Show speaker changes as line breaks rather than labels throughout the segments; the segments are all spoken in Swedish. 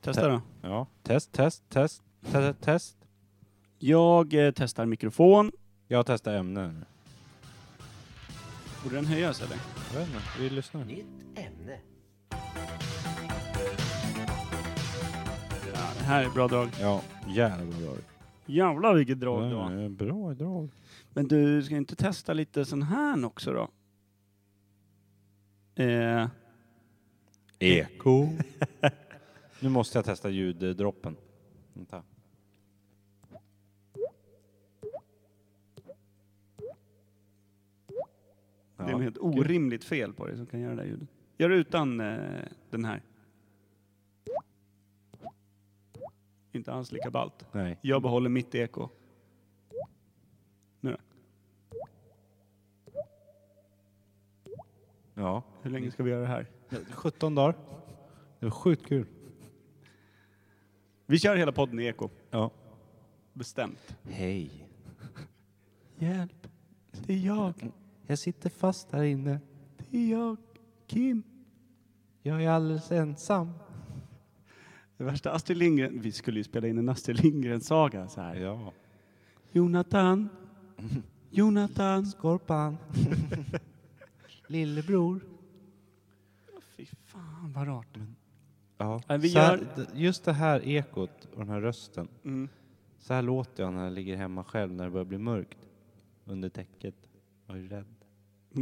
Testa då.
Ja.
Test, test, test, test, test. Jag eh, testar mikrofon.
Jag testar ämnen.
Borde den höjas eller?
Jag vet inte, vi lyssnar.
Nytt ämne.
Ja, det här är bra drag.
Ja, jävla drag.
Jävlar vilket drag det var.
Ja, bra drag.
Men du, ska inte testa lite sån här också då? Eh,
Eko. nu måste jag testa ljuddroppen. Vänta.
det är något helt orimligt fel på det som kan göra det här ljudet. Gör det utan eh, den här. Inte alls lika ballt.
Nej.
Jag behåller mitt eko. Nu då.
Ja.
Hur länge ska vi göra det här?
17 dagar. Det var sjukt kul.
Vi kör hela podden i eko.
Ja.
Bestämt.
Hej.
Hjälp. Det är jag.
Jag sitter fast här inne.
Det är jag. Kim.
Jag är alldeles ensam.
Det värsta Astrid Lindgren. Vi skulle ju spela in en Astrid Lindgren-saga så här.
Ja.
Jonathan. Jonathan.
Skorpan. Lillebror.
Fy fan vad rart.
Ja.
Nej, vi
Så här-
gör-
d- Just det här ekot och den här rösten.
Mm.
Så här låter jag när jag ligger hemma själv när det börjar bli mörkt. Under täcket. Jag är rädd.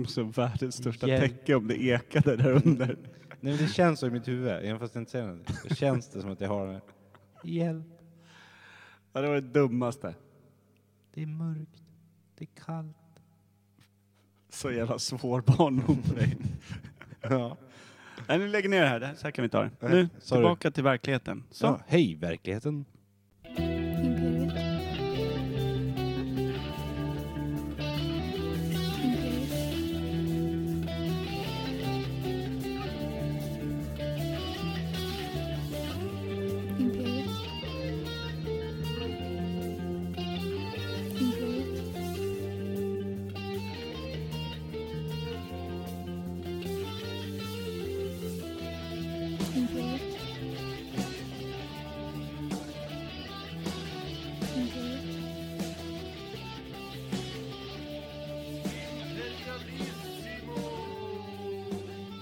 Så världens största
Hjälp.
täcke om det ekade där under.
Nej, men det känns så i mitt huvud, även fast jag inte säger någonting. Då känns det som att jag har det. Hjälp,
Ja, det var det dummaste.
det är mörkt, det är kallt.
Så jävla svår barndom för dig.
Ja.
Nej, nu lägger ner det här. Det här- Så här kan vi ta det. Nu,
sorry.
tillbaka till verkligheten. Så.
ja. Hej verkligheten!
Imperiet. Imperiet. Imperiet. Imperiet. Imperiet. Imperiet.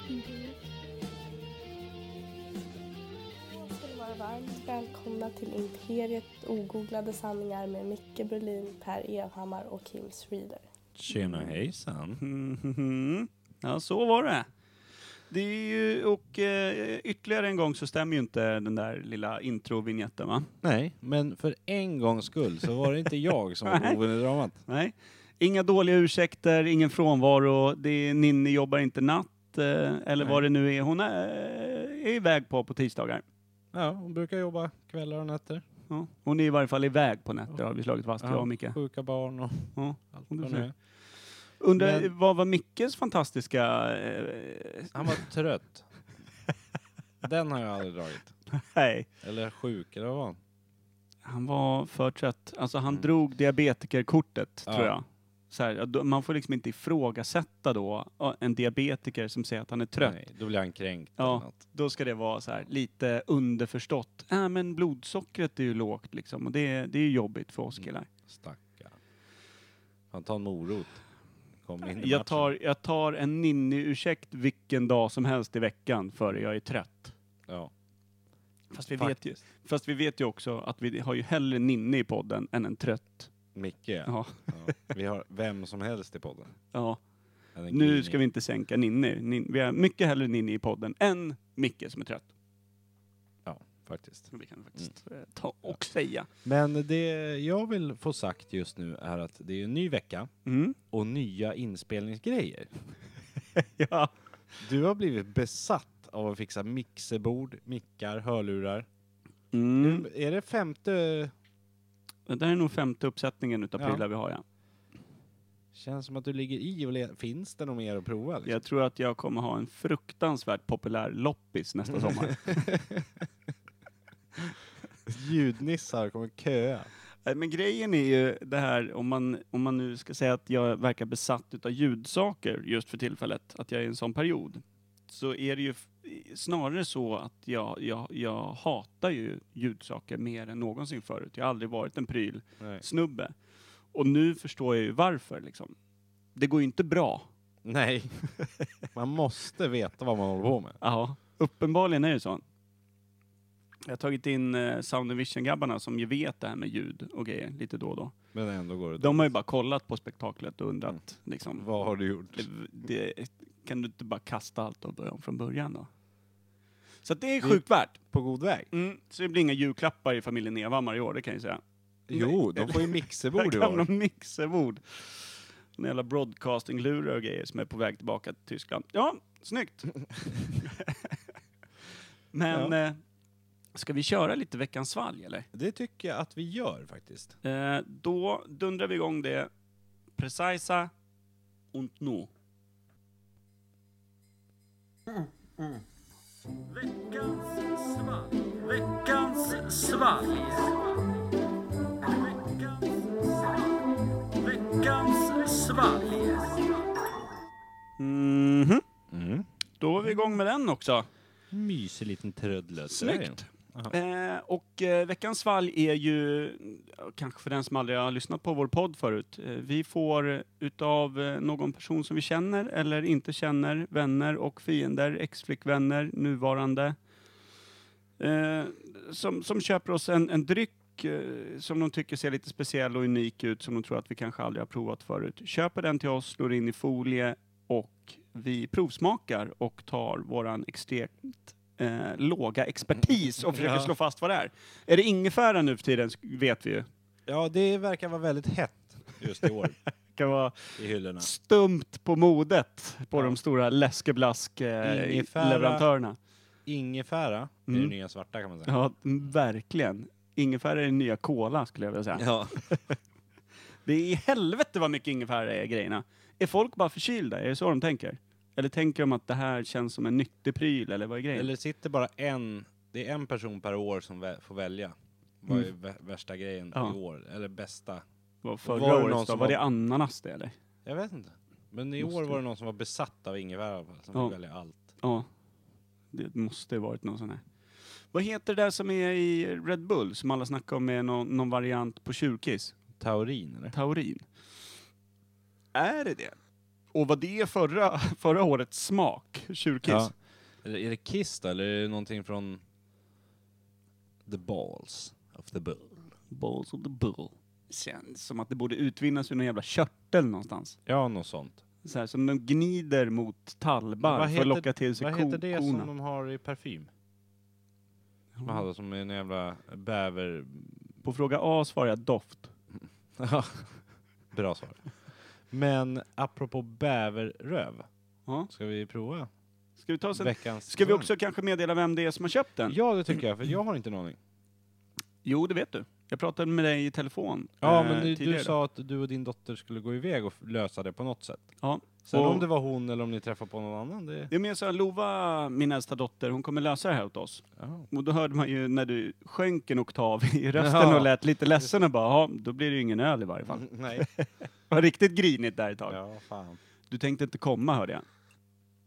Imperiet.
ska ni vara varmt välkomna till Imperiet ogooglade sanningar med Micke Berlin, Per Evhammar och Kim Reader.
Tjena hejsan!
Mhm. Ja, så var det. Det är ju, och eh, ytterligare en gång så stämmer ju inte den där lilla introvinjetten va?
Nej, men för en gångs skull så var det inte jag som var boven i dramat.
Nej. Inga dåliga ursäkter, ingen frånvaro, det är, Ninni jobbar inte natt, eh, eller vad det nu är. Hon är, är iväg på på tisdagar.
Ja, hon brukar jobba kvällar och nätter.
Ja. Hon är i varje fall iväg på nätter har vi slagit fast, jag och Micke.
Sjuka barn och
Ja.
allt
Hon är
vad det nu är.
Undrar,
Men-
vad var Mickes fantastiska... Eh,
Han var trött. Den har jag aldrig dragit.
nej.
Eller sjuk, eller vad var han?
Han var för trött. Alltså han drog diabetikerkortet,
Mm. Ja.
tror jag. Så här, då- man får liksom inte ifrågasätta då ja, en diabetiker som säger att han är trött.
Nej, då blir han kränkt.
Ja.
eller något.
Då ska det vara så här, lite underförstått. Äh, men blodsockret är ju lågt liksom och det, det är ju jobbigt för oss killar.
Stackarn. Han tar en morot. Kom in i
Jag
matchen.
tar, jag tar en ninni-ursäkt vilken dag som helst i veckan för jag är trött.
Ja.
Fast vi, vet ju, fast vi vet ju också att vi har ju hellre ninni i podden än en trött.
Micke, ja.
Ja.
Ja. Vi har vem som helst i podden.
ja.
Eller en
Nu
grinig.
ska vi inte sänka Ninni. Nin, vi har mycket hellre Ninni i podden än Micke som är trött.
Ja, faktiskt.
Det kan vi faktiskt eh, ta och säga.
Men det jag vill få sagt just nu är att det är en ny vecka
Mm.
och nya inspelningsgrejer.
Ja.
Du har blivit besatt av att fixa mixerbord, mickar, hörlurar.
Mm.
Är det femte...
Det där är nog femte uppsättningen utav
Ja.
prylar vi har. Ja.
Känns som att du ligger i och le... Finns det något mer att prova? Liksom?
Jag tror att jag kommer ha en fruktansvärt populär loppis nästa sommar.
Ljudnissar kommer köa.
Nej, Men grejen är ju det här, om man, om man nu ska säga att jag verkar besatt utav ljudsaker just för tillfället, att jag är i en sån period, så är det ju f- snarare så att jag, jag, jag hatar ju ljudsaker mer än någonsin förut. Jag har aldrig varit en prylsnubbe.
Nej.
Och nu förstår jag ju varför liksom. Det går ju inte bra.
Nej. Man måste veta vad man håller på med.
Ja, uppenbarligen är det så. Jag har tagit in eh, Sound and Vision-grabbarna som ju vet det här med ljud och grejer lite då och då.
Men ändå går det
De har ju bara kollat på spektaklet och undrat
Mm.
liksom,
Vad har du gjort?
det, det, kan du inte bara kasta allt och börja om från början då? Så att det är
Det-
sjukt värt.
På god väg?
Mm, så det blir inga julklappar i familjen Evhammar i år, det kan jag ju säga.
Jo, de får ju
Där
mixerbord i
kan
år.
de mixerbord. En jävla broadcasting-lurar och grejer som är på väg tillbaka till Tyskland. Ja, snyggt! Men eh, ska vi köra lite veckans svalg eller?
Det tycker jag att vi gör faktiskt.
Eh, då dundrar vi igång det. Precisa und nu. Veckans svalg. Veckans svalg. Veckans svalg. Mhm.
Mm.
Då var vi igång med den också.
Mysig liten trödlös.
Snyggt! Eh, och eh, veckans svalg är ju, eh, kanske för den som aldrig har lyssnat på vår podd förut, eh, vi får utav eh, någon person som vi känner eller inte känner, vänner och fiender, ex-flickvänner, nuvarande, eh, som, som köper oss en, en dryck eh, som de tycker ser lite speciell och unik ut, som de tror att vi kanske aldrig har provat förut. Köper den till oss, slår in i folie och vi provsmakar och tar våran extremt eh, låga expertis och försöker
Ja.
slå fast vad det är. Är det ingefära nu för tiden sk- vet vi ju.
Ja, det verkar vara väldigt hett just i år
Det kan vara
i hyllorna.
stumt på modet på
Ja.
de stora eh,
Ingefära.
läskeblask-leverantörerna.
Ingefära är det
Mm.
nya svarta kan man säga.
Ja, Mm, verkligen. Ingefära är den nya kola skulle jag vilja säga.
Ja.
Det är i helvete vad mycket ingefära det är i grejerna. Är folk bara förkylda? Är det så de tänker? Eller tänker de att det här känns som en nyttig pryl eller vad är grejen?
Eller sitter bara en, det är en person per år som vä- får välja. Vad är vä- värsta grejen
Mm. Ja.
i år? Eller bästa?
Vad förra
var det någon
året då?
som
Var
var-
det ananas det eller?
Jag vet inte. Men i
Måste
år
det.
var det någon som var besatt av ingefära i alla fall, som
Ja.
fick välja allt.
Ja. Det måste ju varit någon sån här. Vad heter det där som är i Red Bull som alla snackar om är någon, någon variant på tjurkiss?
Taurin eller?
Taurin. Är det det? Och vad det är förra, förra årets smak, tjurkiss.
Ja. Eller är det Kiss då? Eller är det någonting från The Balls of the Bull?
Balls of the bull. Känns som att det borde utvinnas ur någon jävla körtel någonstans.
Ja, något sånt.
Så här, som de gnider mot
Vad
tallbar för
heter-
att locka till sig
Vad
ko-
heter det som
korna. Mm.
de har i parfym? Man hade som en jävla bäver...
På fråga A svarar jag doft.
Bra svar. Men apropå bäverröv,
Ja.
ska vi prova
Ska vi ta sen?
veckans...
Ska vi
slang?
också kanske meddela vem det är som har köpt den?
Ja, det tycker jag, för jag har inte en aning.
Jo, det vet du. Jag pratade med dig i telefon
Ja,
eh,
men du,
tidigare
du
idag.
sa att du och din dotter skulle gå iväg och f- lösa det på något sätt.
Ja.
Sen
Och-
om det var hon eller om ni träffade på någon annan, det...
Det är mer så här, Lova, min äldsta dotter, hon kommer lösa det här åt oss.
Ja.
Och då hörde man ju när du sjönk en oktav i rösten
Ja.
och lät lite ledsen och bara, ja, då blir det ju ingen öl i varje fall.
Nej.
Det var riktigt grinigt där ett tag.
Ja, fan.
Du tänkte inte komma, hörde jag.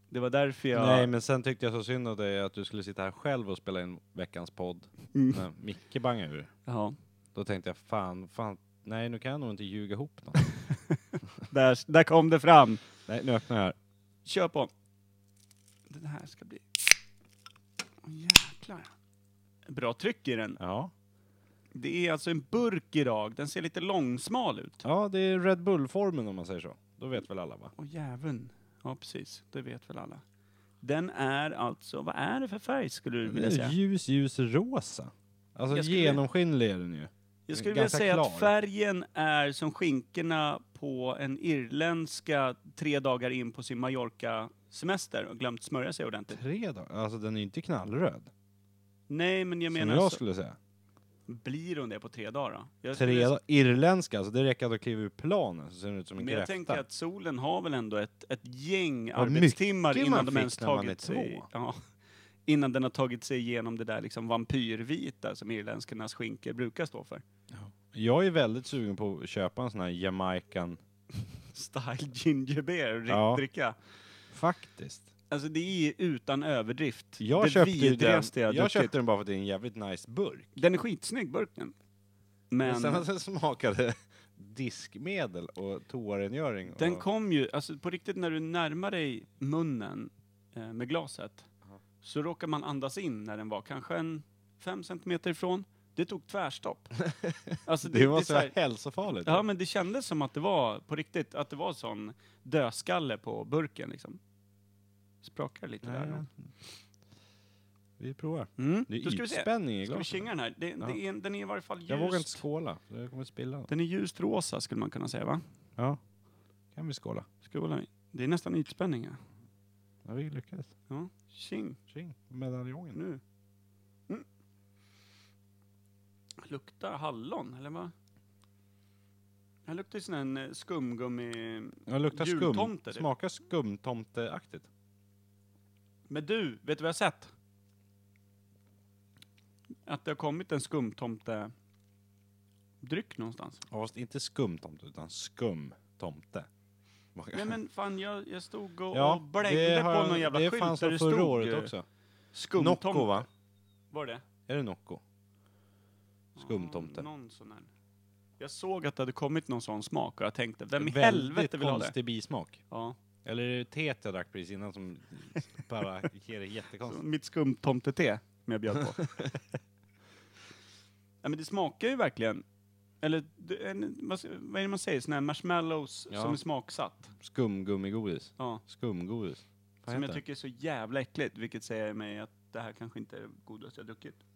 Det var därför jag...
Nej, men sen tyckte jag så synd av dig att du skulle sitta här själv och spela in veckans podd.
Mm.
När Micke bangade ur.
Ja,
Då tänkte jag, fan, fan, nej nu kan jag nog inte ljuga ihop något.
där, där kom det fram.
nej, nu öppnar jag här.
Kör på. Den här ska bli... Åh, jäklar. Bra tryck i den.
Ja.
Det är alltså en burk idag. Den ser lite långsmal ut.
ja, det är Red Bull-formen om man säger så. Då vet väl alla va?
Åh jäveln. Ja, precis. Det vet väl alla. Den är alltså, vad är det för färg skulle du vilja säga?
Ljus, ljus rosa. Alltså
Jag skulle-
genomskinlig är den ju.
Jag skulle vilja
ganska
säga att
klar.
färgen är som skinkorna på en irländska tre dagar in på sin Mallorca-semester och glömt smörja sig ordentligt.
Tre dagar? Alltså den är ju inte knallröd.
Nej, men jag
som
menar,
jag
så,
skulle säga.
blir hon det på tre dagar då? Jag skulle
Tre
vilja-
dagar. Irländska, alltså det räcker att du kliver ur planen så ser den ut som en
Men jag tänker
kräfta.
att solen har väl ändå ett, ett gäng
Vad
arbetstimmar
mycket
innan
man
de
fick
ens
när man är
tagit sig...
två.
Ja, innan den har tagit sig igenom det där liksom vampyrvita som irländskarnas skinker brukar stå för.
Jag är väldigt sugen på att köpa en sån här Jamaican,
Style ginger beer,
Ja.
dricka.
faktiskt.
Alltså det är utan överdrift
Jag
det
köpte ju den,
vidrigaste
jag,
jag, druckit.
köpte den bara för att det är en jävligt nice burk.
Den är skitsnygg burken.
Men
Men
sen att den smakade diskmedel och toarengöring.
den
och,
kom ju, alltså på riktigt när du närmar dig munnen eh, med glaset
Aha.
så råkar man andas in när den var kanske en fem centimeter ifrån. Det tog tvärstopp. Alltså
det
är
måste
så här-
vara hälsofarligt.
Ja, men det kändes som att det var på riktigt, att det var sån dödskalle på burken liksom. Sprakar lite
Nej,
där.
Vi provar.
Mm.
Det är
Då ska vi se.
ytspänning i
Ska vi
glaset.
kinga den här? Det,
Ja.
det är, en- den är i varje fall ljust.
Jag vågar inte skåla, för jag kommer spilla. något.
Den är ljust rosa skulle man kunna säga va?
Ja. Kan vi skåla?
Skålar vi. Det är nästan ytspänning här.
Ja, vi lyckades.
Ja, tjing
Tjing, medaljongen.
nu. Mm. Luktar hallon eller vad? Det luktar ju sån här en eh, skumgummi...
Ja, luktar skum.
Jultomte, du.
Smakar skumtomteaktigt.
Men du, vet du vad jag har sett? Att det har kommit en skumtomte dryck någonstans.
Ja, fast inte skumtomte, utan skumtomte.
Nej men fan, jag, jag stod och,
Ja,
och blängde på
har jag-
någon jävla
det
skylt
fanns
där
väl
det
förra
stod
året
eh,
också.
skumtomte.
Nocco va?
Var det?
Är det Nocco?
Ja,
Skumtomte.
någon sån här. Jag såg att det hade kommit någon sån smak och jag tänkte, vem i
Väldigt
helvete vill ha det?
konstig bismak.
Ja.
Eller är det teet jag drack precis innan som bara ger det jättekonstigt?
Mitt skumtomtete som jag bjöd på. ja, men det smakar ju verkligen, eller det- en, vad, s- vad är det man säger, såna här marshmallows
Ja.
som är smaksatt.
Skumgummigodis.
Ja.
Skumgodis. Vad
Som
heter
jag tycker är så jävla äckligt, vilket säger mig att det här kanske inte är det godaste jag druckit.
det?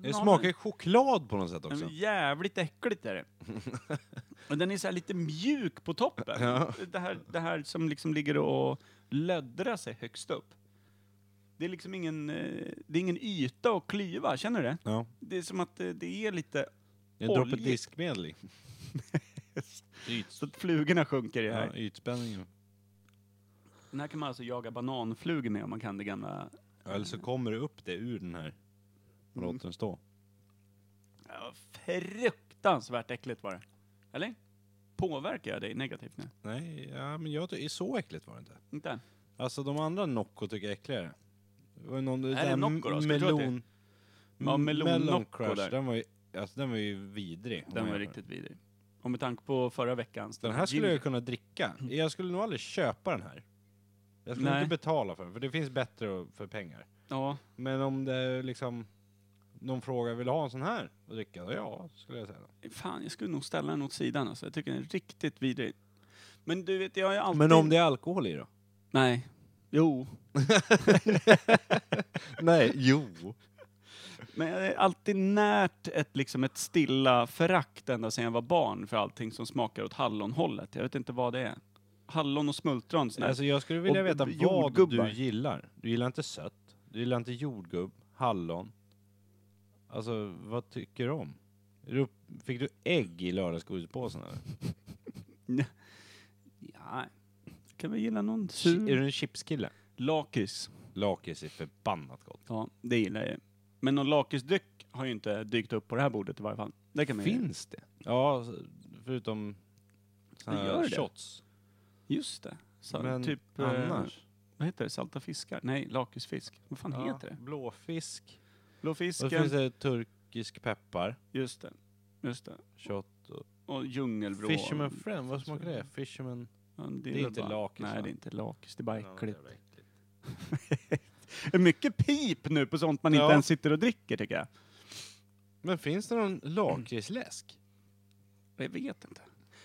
Det smakar choklad på något sätt också.
Men jävligt äckligt är det. och den är så här lite mjuk på toppen.
Ja.
Det, här, det här som liksom ligger och löddrar sig högst upp. Det är liksom ingen, eh, det är ingen yta att klyva, känner du det?
Ja.
Det är som att eh, det är lite,
Det är en droppe
Oljigt.
diskmedel i. Yts-
så att flugorna sjunker i
ja,
här.
ytspänningen.
Den här kan man alltså jaga bananflugor med om man kan det gamla.
Ja, Eller så kommer det upp det ur den här. Och låter den stå.
Ja, fruktansvärt äckligt var det. Eller? Påverkar jag dig negativt nu?
Nej, ja, men jag tycker så äckligt var det inte.
Inte?
Alltså de andra Nocco tycker jag är äckligare. Det var ju någon,
Är det
där
Nocco då? Ska vi tro att det-
melon...
Ja, melon
Melon
Nocco
Crush,
där.
Den var ju, alltså, den var ju vidrig. om
Den
man
var
jämför.
riktigt vidrig. Och med tanke på förra veckans...
Den här skulle
gin-
jag kunna dricka. Jag skulle nog aldrig köpa den här. Jag skulle
Nej.
inte betala för den, för det finns bättre för pengar.
Ja,
Men om det är liksom någon frågar, vill du ha en sån här att dricka? Då Ja, skulle jag säga.
Fan, jag skulle nog ställa den åt sidan alltså. Jag tycker den är riktigt vidrig. Men du vet, jag är alltid...
Men om det är alkohol i då?
Nej. Jo.
Nej, jo.
Men jag är alltid närt ett, liksom ett stilla förakt ända sedan jag var barn för allting som smakar åt hallonhållet. Jag vet inte vad det är. Hallon och smultron. sån här.
Alltså jag skulle vilja
Och
veta
b-
vad
jordgubbar.
du gillar. Du gillar inte sött, du gillar inte jordgubb, hallon. Alltså vad tycker du om? Är du upp- Fick du ägg i lördagsgodispåsen eller?
Ja. Kan vi gilla någon
Chi-
sur...
Är du en chipskille?
Lakrits.
Lakrits är förbannat gott.
Ja, det gillar jag ju. Men någon lakritsdryck har ju inte dykt upp på det här bordet i varje fall. Det kan man ju-
Finns det? Ja, s- förutom såna
Det gör
här
det.
shots.
Just det. Så,
Men
typ... eh,
annars?
Vad heter det? Salta fiskar? Nej, lakritsfisk. Vad fan
Ja,
heter det?
Blåfisk.
Blå
Och
fisken.
så finns det turkisk peppar,
Just det. Just det.
shot och
Och djungelvrå.
Fisherman friend, vad smakar det? Fisherman...
Ja, det,
är
väl
inte
bara-
lakrits,
Nej,
va?
det är inte lakrits. Det är bara äckligt. Mycket pip nu på sånt man
Ja.
inte ens sitter och dricker, tycker jag.
Men finns det någon lakritsläsk?
Jag vet inte.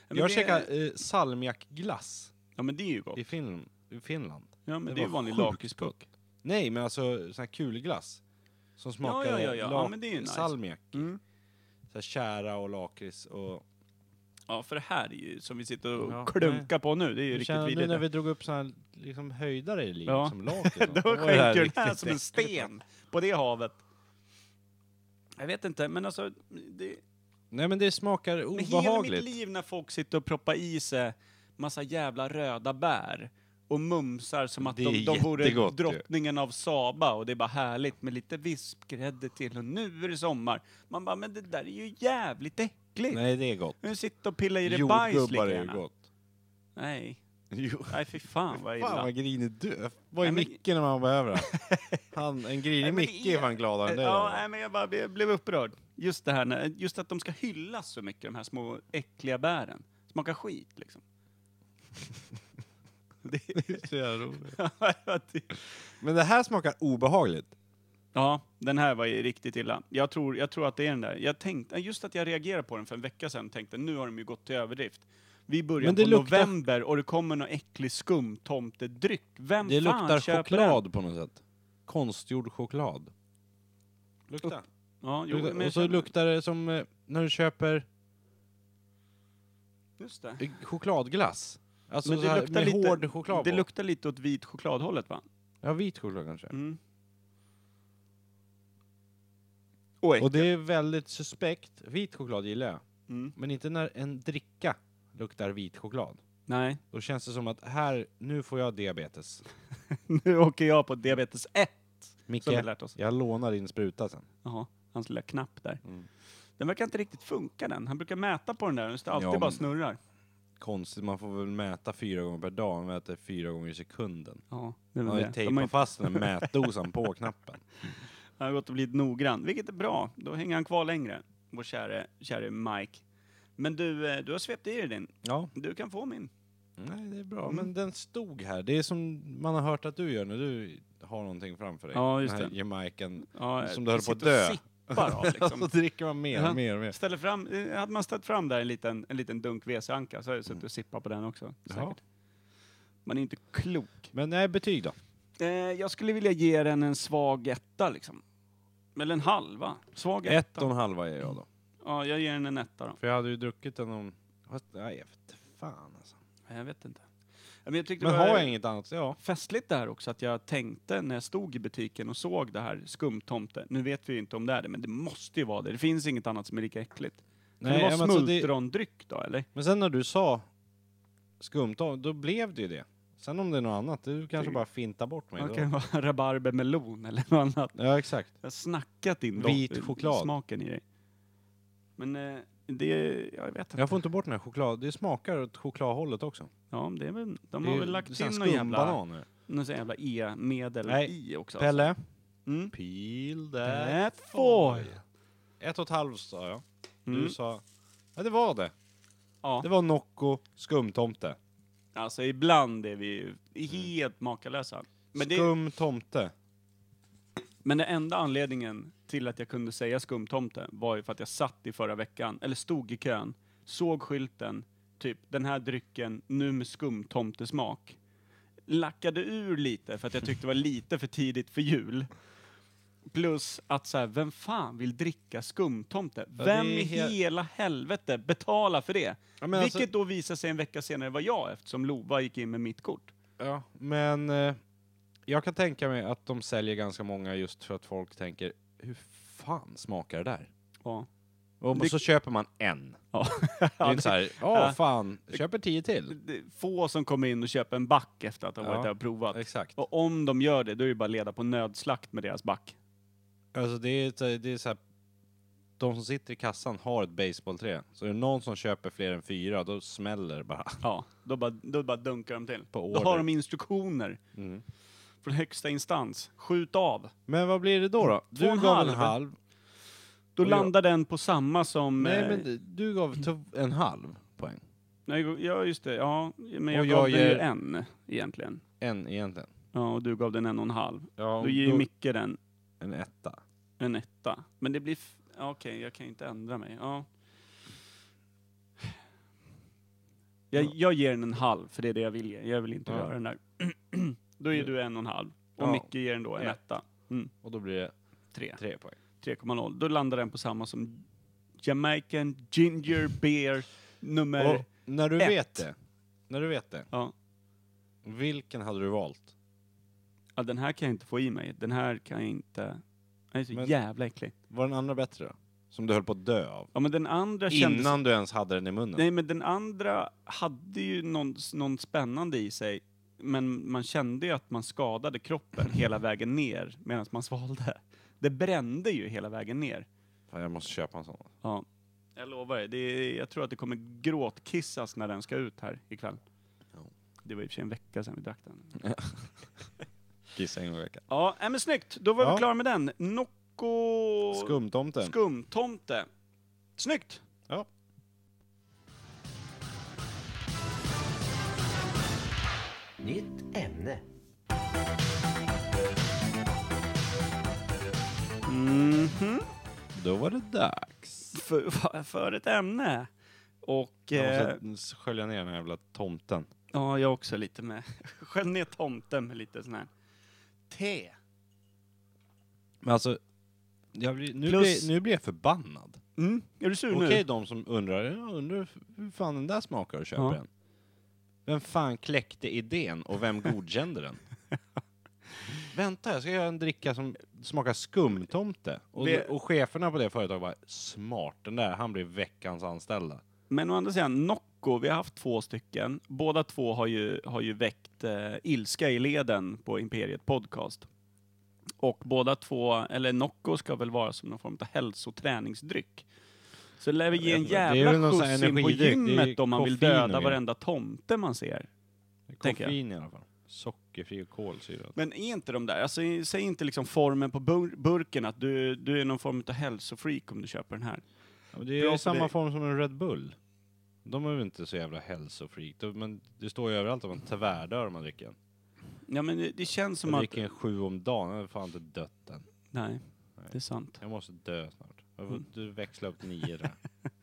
Men
Jag
det-
käkade eh, salmiakglass
Ja, men det är ju gott.
i, fin i Finland.
Ja, men
det
det, är ju
var
vanlig
sjukt
lakritspuck.
Nej, men alltså sån här kulglass. Som smakade
ja, ja, ja. Ja,
lak-
men det är ju nice.
salmiak.
Mm.
Så här tjära och lakrits och...
Ja, för det här är ju, som vi sitter och
Ja,
klunkar på nu, det är ju
Hur
riktigt
känner du
vidrigt.
när vi drog upp såna här liksom höjdare i livet
Ja.
som lakrits?
Då
var det här
sjönk den här
riktigt
som en sten på det havet. Jag vet inte, men alltså... Det,
Nej men det smakar
men hela mitt
obehagligt.
liv när folk sitter och proppar i sig massa jävla röda bär och mumsar som att
Det
de,
är
de vore
jättegott ju.
drottningen av Saba och det är bara härligt med lite vispgrädde till och nu är det sommar. Man bara, men det där är ju jävligt äckligt.
Nej det är gott.
Nu sitter och pillar i det bajs
Jordgubbar
lika
är ju
gärna.
gott.
Nej,
Jo.
Nej, fy fan vad
Fan
illa.
vad grinig du är. Vad är
Nej, men-
Micke när man behöver han? han? En grinig
Nej, men
Micke
det är-
är fan gladare än dig.
Ja,
Adam.
nej, men jag bara blev- blev upprörd. Just det här när, just att de ska hyllas så mycket, de här små äckliga bären. Smakar skit liksom. det,
Så jävla roligt.
det,
Men det här smakar obehagligt.
Ja, den här var ju riktigt illa. Jag tror, jag tror att det är den där. Jag tänkte, just att jag reagerade på den för en vecka sedan tänkte nu har de ju gått till överdrift. Vi börjar
Men det
på
luktar-
november och det kommer någon äcklig skumtomtedryck. Vem
Det
fan
luktar
köper
choklad
Den?
på något sätt. Konstgjord choklad.
Lukta.
Ja, jo, men jag
och så
känner-
luktar det som eh, när du köper
Just det.
eh, chokladglass. Alltså
Men
så
det
här,
luktar,
med hård
lite,
choklad
det
på.
luktar lite åt vit chokladhållet va?
Ja, vit choklad kanske.
Mm. Och äck-
Och det är väldigt suspekt. Vit choklad gillar jag.
mm.
Men inte när en dricka luktar vit choklad.
Nej,
Då känns det som att här, nu får jag diabetes.
nu åker jag på diabetes 1
Micke,
som vi lärt oss.
jag lånar din spruta sen.
Jaha, hans lilla knapp där.
Mm.
Den verkar inte riktigt funka den. Han brukar mäta på den där, den står alltid
Ja,
bara
men-
snurrar.
Konstigt, man får väl mäta fyra gånger per dag, man mäter fyra gånger i sekunden.
Ja, det är
Man
väl
har ju
det. De har,
tejpat
inte,
fast den här mätdosan på knappen.
han har gått och blivit noggrann, vilket är bra. Då hänger han kvar längre, vår käre, käre Mike. Men du, eh, du har svept i dig din.
Ja.
Du kan få min.
Nej, det är bra.
Mm.
Men den stod här. Det är som man har hört att du gör när du har någonting framför dig.
Ja, just
den här
det.
jamaican.
Ja,
Som
eh,
du höll på att
sitter och
dö.
sippar av
Och
liksom.
så dricker man mer
Ja.
och mer och mer.
Ställer fram, eh, hade man ställt fram där en liten, en liten dunk WC-anka så hade jag suttit och
Mm.
sippat på den också.
Ja.
Säkert. Man är inte klok.
Men nej, betyg då?
Eh, jag skulle vilja ge den en svag etta liksom. Eller en halva. Svag etta.
Ett och en halva ger jag då.
Ja, jag ger den en etta då.
För jag hade ju druckit den om... Fast, nej, jag vet inte fan alltså.
Nej, Jag vet inte. Ja, Men jag tyckte
Men
det
har
var
jag inget annat? Ja.
festligt det här också att jag tänkte när jag stod i butiken och såg det här skumtomte. Nu vet vi ju inte om det är det, men det måste ju vara det. Det finns inget annat som är lika äckligt. Nej,
Nej,
kan det
men
vara
alltså, det-
smultrondryck då eller?
Men sen när du sa skumt, då- då blev det ju det. Sen om det är något annat, du kanske
Tycker-
bara fintar bort mig.
Det
då.
kan vara rabarber melon eller något annat.
Ja, exakt.
Jag har snackat in
Vit
dom-
choklad.
smaken i dig. Men eh, det, jag vet inte.
Jag får inte bort den här choklad. Det smakar åt chokladhållet också.
Ja, men det är väl, de
Det är
har
ju
väl lagt
sån här
in någon jävla, alltså.
skumbanan nu.
någon sån jävla e-medel
Nej,
i också. alltså.
Pelle?
Mm.
Peel
That foil.
Ett och ett halvt sa jag.
Mm.
Du sa... Ja, det var det.
Ja.
Det var Nocco skumtomte.
Alltså ibland är vi ju helt makalösa. Men det,
Skumtomte.
men den enda anledningen till att jag kunde säga skumtomte var ju för att jag satt i förra veckan, eller stod i kön, såg skylten, typ den här drycken, nu med skumtomtesmak. Lackade ur lite för att jag tyckte det var lite för tidigt för jul. Plus att så här, vem fan vill dricka skumtomte?
det är
Vem i
he-
hela helvete betalar för det?
Ja, men
Vilket
alltså-
då visade sig en vecka senare var jag eftersom Lova gick in med mitt kort.
Ja, men eh, jag kan tänka mig att de säljer ganska många just för att folk tänker hur fan smakar det där?
Ja.
Och
Det-
så köper man en.
Ja. typ.
det är inte såhär,
Ja.
ja fan, köper tio till.
det är få som kommer in och köper en back efter att de
Ja,
varit där och provat.
Exakt.
Och om de gör det, då är det bara att leda på nödslakt med deras back.
Alltså det är, så- det är såhär, de som sitter i kassan har ett baseballträ. Så är det någon som köper fler än fyra, då smäller det bara.
Ja, då bara, då bara dunkar de till.
På
då
order.
har de instruktioner från högsta instans. Skjut av.
Men vad blir det då då? Du
Två och en
gav en
halv.
halv.
Då
Och jag-
landar den på samma som...
Nej
eh,
men du- du gav to- en halv poäng.
nej, ja, just det. Ja, men jag
Och
gav
jag
den ju
ger-
en egentligen.
En egentligen.
Ja, och du gav den en och en halv.
Ja,
Då ger ju Micke den
en etta.
en etta. Men det blir... f- ja, Okej, jag kan ju inte ändra mig. Ja. Jag, jag ger den en halv, för det är det jag vill ge. Jag vill inte
Ja.
röra den där. Då ger du en och en halv. Och
Ja.
Micke ger den då en
Ja.
etta.
Och då blir det
Tre.
tre poäng.
3,0. Då landar den på samma som Jamaican Ginger Beer nummer...
Och när du
ett.
vet det, när du vet det,
Ja.
vilken hade du valt?
ja, den här kan jag inte få i mig. Den här kan jag inte... Den är så
Men-
jävla äcklig.
Var den andra bättre då? Som du höll på att dö av?
Ja, men den andra kändes...
Innan du ens hade den i munnen?
Nej, men den andra hade ju någon, någon spännande i sig. Men man kände ju att man skadade kroppen hela vägen ner medan man svalde. Det brände ju hela vägen ner.
Fan, jag måste köpa en sån.
Ja. Jag lovar dig, det är, jag tror att det kommer gråtkissas när den ska ut här ikväll.
Ja.
Det var i och för sig en vecka sedan vi drack den.
Kissa en gång i veckan.
Ja, äh, men snyggt. Då var vi
Ja.
klara med den. Nocco...
Skumtomten.
Skumtomte. Snyggt!
Ja.
Nytt ämne.
Mm.
Mhm.
Då var det dags.
För, för ett ämne. Och... Eh,
Jag måste skölja ner den här jävla tomten.
ja, jag också lite med. Skölj ner tomten med lite sån här... Te.
Men alltså, jag blir, nu,
Plus-
blir, nu blir jag förbannad.
Mm, är du sur
Okej
nu?
de som undrar, jag undrar hur fan den där smakar och köper
Ja.
den. Vem fan kläckte idén och vem godkände den? Vänta, jag ska göra en dricka som smakar skumtomte. Och,
Det-
och cheferna på det företaget bara, smart, den där, han blir veckans anställda.
Men å andra sidan, Nocco, vi har haft två stycken. Båda två har ju, har ju väckt eh, ilska i leden på Imperiet Podcast. Och båda två, eller Nocco ska väl vara som någon form av hälsoträningsdryck. Så det lär vi ge
vet
en
inte. Det är väl
jävla
någon sån här
skjuts in på
energidryck. Det är
gymmet om man vill
koffein och
döda
grejer.
varenda tomte man ser. Tänker jag.
Koffein i alla fall. Sockerfri och kolsyra.
Men är inte de där, alltså, säg inte liksom formen på bur- burken att du, du är någon form av hälsofreak om du köper den här.
Ja, men det är
Bra för
ju samma
dig.
form som en Red Bull. De är väl inte så jävla hälsofreak. De- Men det står ju överallt att man tvärdör om man dricker en.
Ja men det, det känns som
jag
att...
dricker en sju om dagen, jag har fan inte dött än.
Nej, det är sant.
Jag måste dö snart. Jag får du växla upp nio där.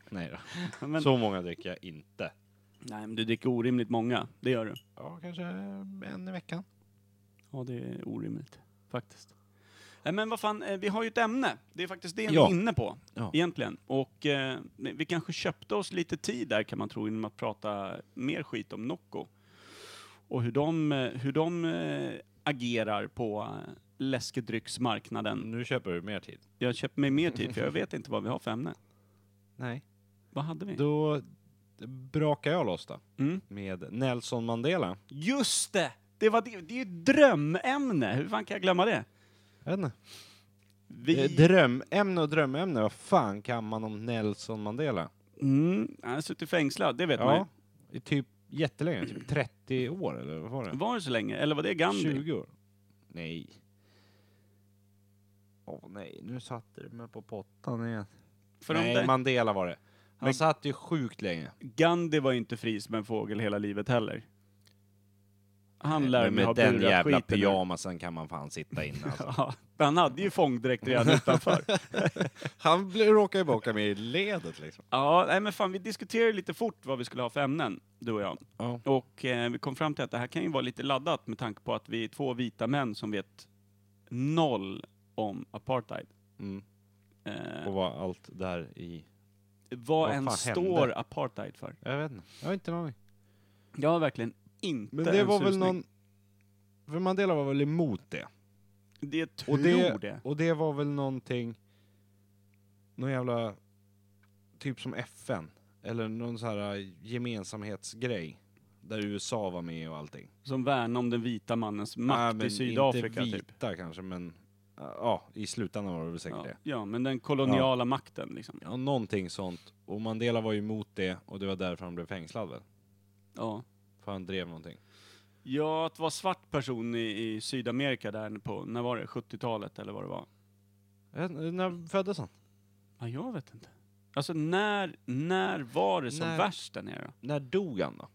Nej då.
Men,
Så många dricker jag inte.
Nej men du dricker orimligt många, det gör du.
Ja, kanske en i veckan.
Ja, det är orimligt faktiskt. Nej, Men vad fan, eh, vi har ju ett ämne. Det är faktiskt det vi
Ja.
är inne på
Ja.
egentligen. Och eh, vi kanske köpte oss lite tid där kan man tro genom att prata mer skit om Nocco. Och hur de, eh, hur de eh, agerar på eh, läskedrycksmarknaden.
Mm. Nu köper du mer tid.
Jag köper mig mer tid för jag vet inte vad vi har för ämne.
Nej.
Vad hade vi?
Då brakar jag loss då.
Mm.
Med Nelson Mandela.
Just det! Det, var det, det är ju ett drömämne! Hur fan kan jag glömma det?
Jag vet inte.
Vi...
Eh, Drömämne och drömämne, vad fan kan man om Nelson Mandela?
Mm, han har suttit fängslad, det vet man ju.
Ja, i typ jättelänge, typ 30 år eller vad var det?
Var det så länge? Eller var det Gandhi?
20 år? Nej. Åh nej, nu satte du mig på pottan igen.
För om
nej,
det,
Mandela var det. Han
Men-
satt ju sjukt länge.
Gandhi var ju inte fri som en fågel hela livet heller. Han lär
Men
mig ha
med den
burat
jävla
skiten ur-
pyjamasen kan man fan sitta inne alltså.
Ja, han hade ju fångdräkt redan utanför.
Han råkade ju bara åka med i ledet liksom.
Ja, nej men fan, vi diskuterade lite fort vad vi skulle ha för ämnen, du och jag.
Ja.
Och eh, vi kom fram till att det här kan ju vara lite laddat med tanke på att vi är två vita män som vet noll om apartheid.
Mm.
Eh,
Och var allt där i...
vad
vad
än
fan
står
hände?
apartheid för?
Jag vet inte, jag har inte en aning.
Jag har verkligen inte
Men det
en
var väl
susning.
någon... För Mandela var väl emot det?
Det tror
Och det,
det.
och det var väl någonting, någon jävla, typ som FN, eller någon sån här eh, gemensamhetsgrej, där USA var med och allting.
Som värnar om den vita mannens makt
men
i Sydafrika
Inte
typ.
vita kanske, men eh, ja, i slutändan var det väl säkert
Ja.
det.
ja, men den koloniala makten liksom.
Ja, någonting sånt. Och Mandela var ju emot det, och det var därför han blev fängslad väl?
Ja.
För han drev någonting.
ja, att vara svart person i, i Sydamerika där på, när var det? 70-talet eller vad det var?
Jag vet inte, Eh, När föddes han?
Ja, jag vet inte. Alltså när, när var det som
När-
värst där nere då?
När dog han då?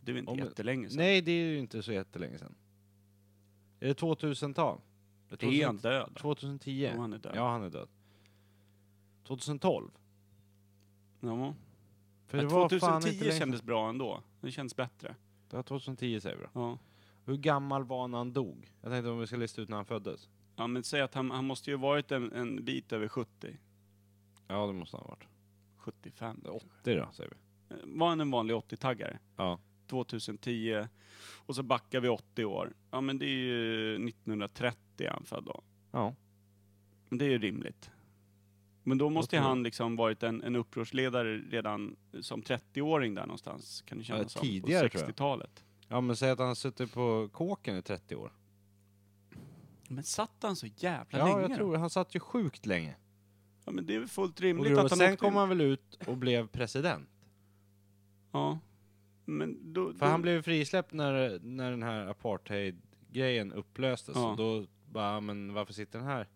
Det är väl inte
Om-
jättelänge sedan?
Nej, det är ju inte så jättelänge sedan. Är det 2000-tal?
är han död?
2010?
Jo, han är död.
Ja, han är död. 2012?
Ja.
För
Men
fan
2010
länge sedan.
kändes bra ändå. Det känns bättre.
Ja, 2010 säger vi då.
Ja.
Hur gammal var han när han dog? Jag tänkte om vi ska lista ut när han föddes.
Ja men säg att han, han måste ju ha varit en, en bit över 70.
Ja, det måste han ha varit.
75.
Det är 80 då, säger vi.
Eh, Var han en vanlig 80-taggare?
Ja.
2010 och så backar vi 80 år. Ja men det är ju 1930 han född då.
Ja.
Men Det är ju rimligt. Men då måste ju
tror jag.
han liksom varit en, en upprorsledare redan som 30-åring där någonstans, kan det kännas som.
tidigare,
på
tror jag.
60-talet.
Ja, men säg att han har suttit på kåken i 30 år.
Men satt han så jävla
Ja,
länge
jag
då?
tror Han satt ju sjukt länge.
Ja men det är väl fullt
Och
rimligt
då,
att han
sen
åkte
kom
in.
han väl ut och blev president.
Ja. Men då,
För han
då,
blev frisläppt när, när den här apartheid-grejen upplöstes.
Ja.
Och då bara, men varför sitter den här?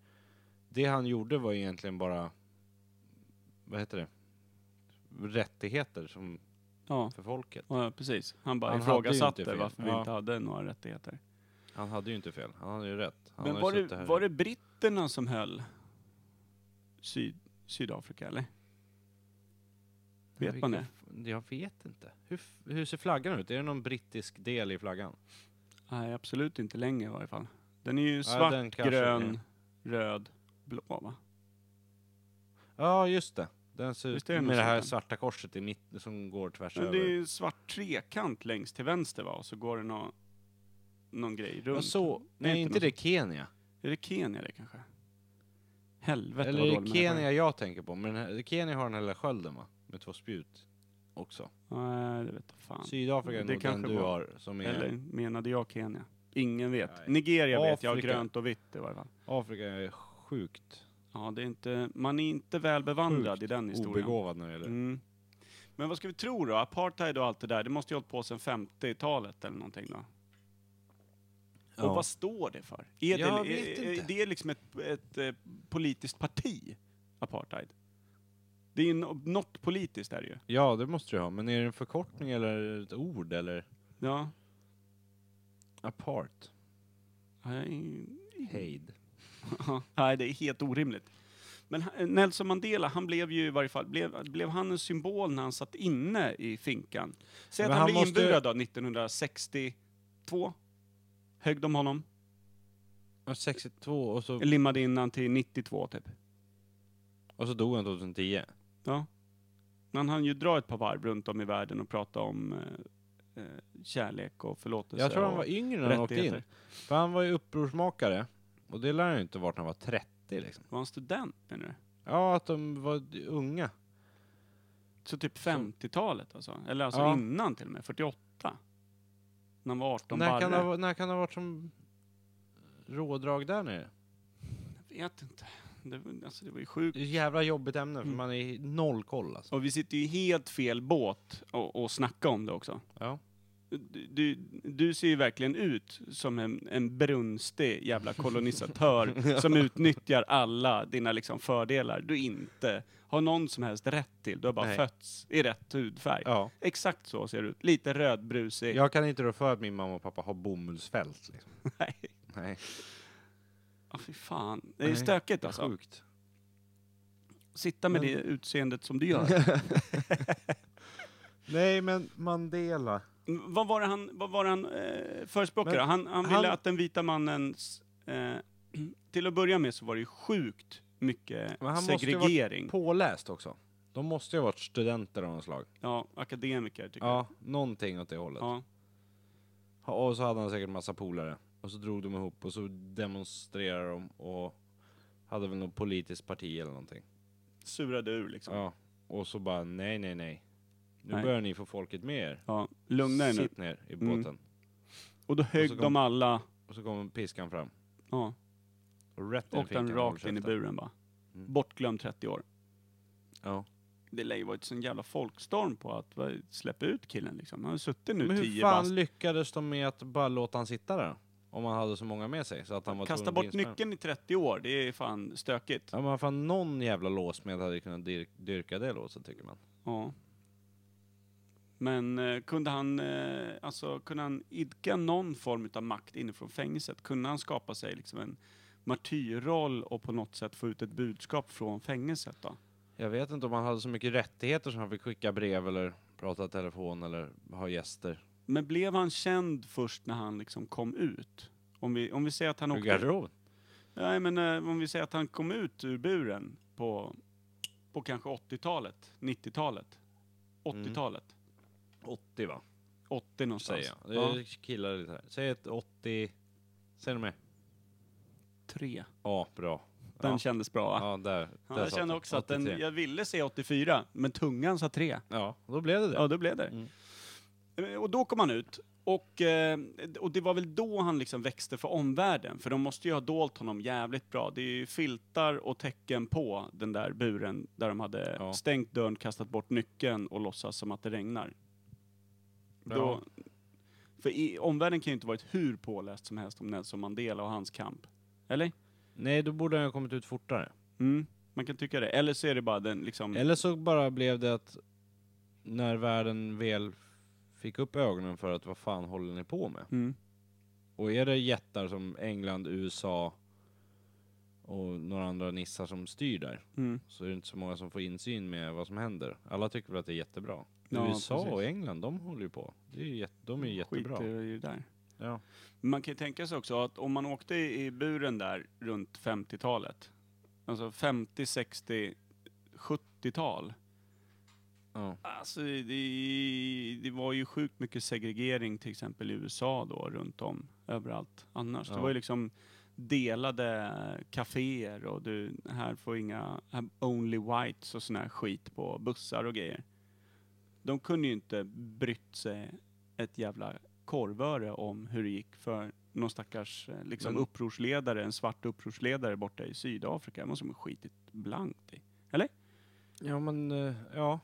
Det han gjorde var egentligen bara, vad heter det? Rättigheter som,
ja,
för folket.
ja, precis. Han bara
Han hade ju inte
ifrågasatte
fel.
varför vi
Ja.
inte hade några rättigheter.
Han hade ju inte fel, han hade ju rätt. Han
Men
har ju
var
suttit
det,
här.
var det britterna som höll Syd, Sydafrika eller? Vet man det?
Jag vet inte. Hur, f- hur ser flaggan ut? Är det någon brittisk del i flaggan?
Nej, absolut inte länge i varje fall. Den är ju svart,
den kanske
grön, röd, blå va?
Ja, just det. Den ser
Visst
ut
är det
med
något
det här
sånt där?
svarta korset i mitten som går tvärs
Men
över.
det är ju svart trekant längst till vänster va? Och så går det nå någon grej runt.
Jag så,
är
nej,
inte
inte
något
det Kenya.
Är det Kenya det kanske? Helvete
Eller
vad
är
dålig
det
människa jag är.
Kenya jag tänker på? Men den här, Kenya har den här lilla skölden va? Med två spjut också.
Nej, det vet jag fan.
Sydafrika är
Det
nog den
kanske
du
var-
har som är...
Eller menade jag Kenya? Ingen vet.
Nej.
Nigeria vet jag,
Afrika.
grönt och vitt i varje fall.
Afrika är sjukt
Ja, det är inte, man är inte väl bevandrad
Sjukt
i den historien.
obegåvad när det gäller...
Mm. Men vad ska vi tro då? Apartheid och allt det där, det måste ju ha hållit på sedan 50-talet eller någonting då? Och vad står det för? Är det,
Jag
är,
vet
är-
inte.
det är liksom ett, ett eh, politiskt parti, apartheid? Det är ju no- något politiskt är det ju.
Ja, det måste du ha. Men är det en förkortning eller ett ord eller?
Ja.
Apart.
Nej,
Hejd.
Nej, det är helt orimligt. Men han- Nelson Mandela, han blev ju i varje fall, blev, blev han en symbol när han satt inne i finkan? Säg att
Men
han,
han
blev
måste-
inburad då, 1962. Högg de honom,
62 och så,
limmade in han till 92 typ.
och så dog han 2010.
Ja. Men han ju dra ett par varv runt om i världen och prata om eh, eh, kärlek och förlåtelse.
Jag tror han
och
var yngre när han åkte in.
rättigheter.
För han var ju upprorsmakare. Och det lär han ju inte varit när han var 30 liksom.
Var han student menar du?
Ja, att de var unga.
Så typ 50-talet alltså? Eller alltså
Ja.
innan till och med, 48? När han var 18
när, kan det
barre.
ha, när kan det ha varit som rådrag där nere?
Jag vet inte. Det, var- alltså, det var ju sjukt.
Det är ett jävla jobbigt ämne för
Mm.
man är noll koll alltså.
Och vi sitter ju i helt fel båt och, och snacka om det också.
Ja.
Du, du, du ser ju verkligen ut som en, en brunstig jävla kolonisatör som utnyttjar alla dina liksom fördelar du inte har någon som helst rätt till. Du har bara
Nej.
fötts i rätt hudfärg.
ja.
Exakt så ser du ut. Lite rödbrusig.
Jag kan inte rå för att min mamma och pappa har bomullsfält liksom.
Nej.
Nej,
Ja, Ah, fy fan. Det är
Nej,
stökigt
det är
alltså.
sjukt.
Sitta med
Men-
det utseendet som du gör.
Nej men Mandela.
Mm, Vad var det han, vad var det han eh, förespråkade?
Men
Han, han ville
han-
att den vita mannens... Eh, till att börja med så var det ju sjukt mycket
Men han måste ju
segregering.
Påläst också. De måste ju ha varit studenter av något slag.
Ja, akademiker tycker
Ja, någonting åt det hållet.
jag. Ja.
Ha- Och så hade han säkert massa polare. Och så drog de ihop och så demonstrerade de och hade väl något politiskt parti eller någonting.
Surade ur liksom. Ja.
Ja. Och så bara nej, nej, nej. Nu
Nej.
börjar ni få folket med er.
lugna er nu.
Sitt ner i
Mm.
båten.
Och då högg
kom-
de alla
Och så kom piskan fram.
ja,
Och rätt
och den rakt in i buren bara.
Mm.
Bortglömd 30 år.
Ja.
Det lär ju varit sån jävla folkstorm på att va, släppa ut killen liksom. Han har suttit nu
Men hur
10
fan
bast.
lyckades de med att bara låta han sitta där? Om han hade så många med sig. Så att han var
Kasta
tvungen att
bort
bli inspärrad.
nyckeln i 30 år, det är fan stökigt.
Ja men fan någon jävla låsmed hade ju kunnat dyr- dyrka det låset tycker man.
Ja. Men eh, kunde han, eh, alltså, kunde han idka någon form av makt inifrån fängelset? Kunde han skapa sig liksom en martyrroll och på något sätt få ut ett budskap från fängelset då?
Jag vet inte om han hade så mycket rättigheter som han fick skicka brev eller prata i telefon eller ha gäster.
Men blev han känd först när han liksom kom ut? Om vi, om vi säger att han
Ur
åkte...
garderoben.
Nej, men eh, om vi säger att han kom ut ur buren på, på kanske 80-talet, 90-talet,
Mm.
80-talet,
80 va?
80 någonstans.
Säger jag. Jag killar lite här. Säg ett 80... Säg något mer.
Tre.
Ja, bra.
Den
Ja.
kändes bra va?
Ja, där.
Ja,
där
jag
satt
kände
den.
också att den,
83.
jag ville se 84, men tungan sa 3.
Ja, då blev det det.
Ja, då blev det.
Mm.
Eh, Och då kom han ut. Och, eh, och det var väl då han liksom växte för omvärlden, för de måste ju ha dolt honom jävligt bra. Det är ju filtar och tecken på den där buren där de hade
Ja.
stängt dörren, kastat bort nyckeln och låtsas som att det regnar. Då, för i, omvärlden kan ju inte varit hur påläst som helst om Nelson Mandela och hans kamp. Eller?
Nej, då borde han ha kommit ut fortare.
Mm, man kan tycka det. Eller så är det bara den liksom...
Eller så bara blev det att när världen väl fick upp ögonen för att vad fan håller ni på med?
Mm,
Och är det jättar som England, USA och några andra nissar som styr där
mm.
så är det inte så många som får insyn med vad som händer. Alla tycker väl att det är jättebra.
Ja,
USA
precis.
och England, de håller ju på. Det är ju jätte, de är ju jättebra.
Skiter i det där.
Ja.
Man kan ju tänka sig också att om man åkte i i buren där runt 50-talet, alltså 50, 60, 70-tal.
Ja.
Alltså det, det var ju sjukt mycket segregering till exempel i USA då runt om överallt annars. Det
Ja.
var ju liksom delade kaféer och du, här får inga, här only whites och sån här skit på bussar och grejer. De kunde ju inte brytt sig ett jävla korvöre om hur det gick för någon stackars eh, liksom,
Men-
upprorsledare, en svart upprorsledare borta i Sydafrika. Det måste de ha skitit blankt i.
ja, men eh, ja.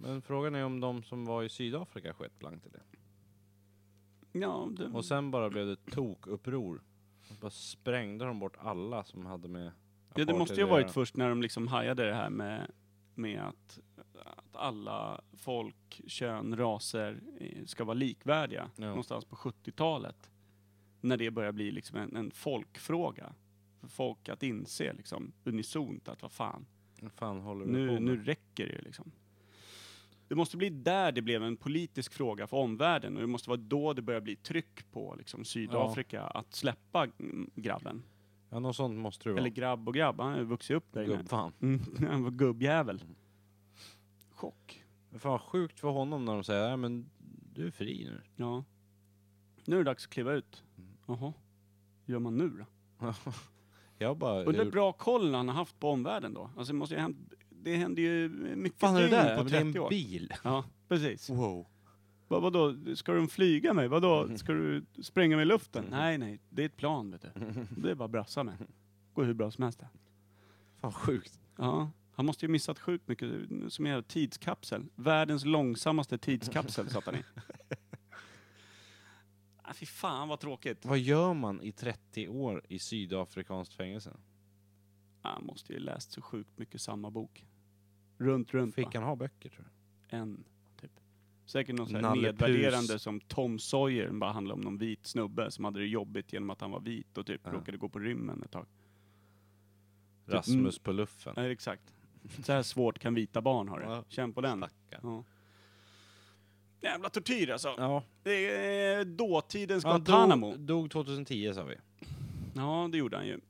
Men frågan är om de som var i Sydafrika sköt blankt i det.
Ja, det,
Och sen bara blev det tokuppror. Och Bara sprängde de bort alla som hade med
ja, det måste ju
apartheid
ha
att
varit
göra.
först när de liksom hajade det här med, med att, att alla folk, kön, raser eh, ska vara likvärdiga.
Ja.
Någonstans på 70-talet. När det börjar bli liksom en, en folkfråga. För folk att inse liksom unisont att vad fan,
Vad fan håller vi på
nu,
med?
nu räcker det ju liksom. Det måste bli där det blev en politisk fråga för omvärlden och det måste vara då det börjar bli tryck på liksom, Sydafrika att släppa mm, grabben.
Ja, något sånt måste det vara.
Eller grabb och grabb, han har ju vuxit upp där inne.
Gubbfan.
Mm, han var gubbjävel. Chock.
Fan vad sjukt för honom när de säger "Nej, men du är fri nu.
Ja. Nu är det dags att kliva ut.
Mm.
Jaha. Hur gör man nu då?
Jag bara...
Undrar hur
jag-
bra koll han har haft på omvärlden då. Alltså det måste ju ha hänt, det händer ju mycket
fan är det
dygn
där?
på
Ja, men
30
det är en
år. Liksom.
bil.
Ja, precis.
Wow.
Va, vadå, ska de flyga mig? Vadå,
Mm.
ska du spränga mig i luften? Nej, nej, det är ett plan vet du. Det är bara att brassa med. Går hur bra som helst. det.
Fan sjukt.
Ja, han måste ju missat sjukt mycket, som en jävla tidskapsel. Världens långsammaste tidskapsel satt han i. Ah, fy fan vad tråkigt.
Vad gör man i 30 år i sydafrikanskt fängelse?
Han måste ju läst så sjukt mycket samma bok. Runt, runt
Fick
va?
han ha böcker tror du?
En, typ. Säkert någon sån här
Nalle
nedvärderande
Puh.
som Tom Sawyer, den bara handlade om någon vit snubbe som hade det jobbigt genom att han var vit och typ
Ja.
råkade gå på rymmen ett tag.
Rasmus på luffen.
Mm. Ja, exakt. Så här svårt kan vita barn ha det.
Ja.
Känn på den.
Stackarn.
Ja. Jävla tortyr alltså.
Ja,
Det är dåtidens
han
Guantanamo.
dog, dog 2010 sa vi.
Ja, det gjorde han ju.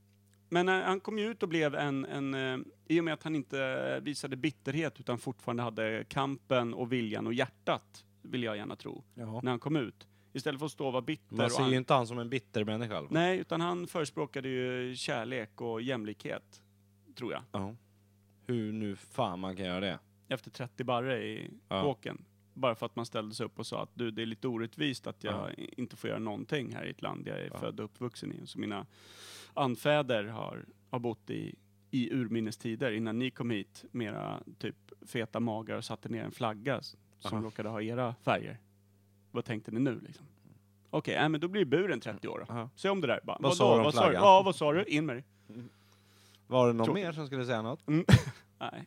Men eh, han kom ju ut och blev en, en eh, i och med att han inte eh, visade bitterhet utan fortfarande hade kampen och viljan och hjärtat, vill jag gärna tro,
Ja.
när han kom ut. Istället för att stå och vara bitter.
Man
och
ser
han,
ju inte han som en bitter människa. eller vad?
Nej, utan han förespråkade ju kärlek och jämlikhet, tror jag.
Ja. Hur nu fan man kan göra det?
Efter 30 barre i
Ja.
kåken. Bara för att man ställde sig upp och sa att du, det är lite orättvist att jag
Ja.
i- inte får göra någonting här i ett land jag är
Ja.
född och uppvuxen i. Och Så mina anfäder har, har bott i, i urminnes tider innan ni kom hit med era typ feta magar och satte ner en flagga s- som
Aha.
råkade ha era färger. Vad tänkte ni nu liksom? Okej, nej, men då blir buren 30 år då.
Ja.
Se om det där. Bara,
Vad sa de om
vad sa du?
flaggan?
Ja, vad sa du? In med dig.
Var det någon
Tråkigt.
mer som skulle säga något?
Nej.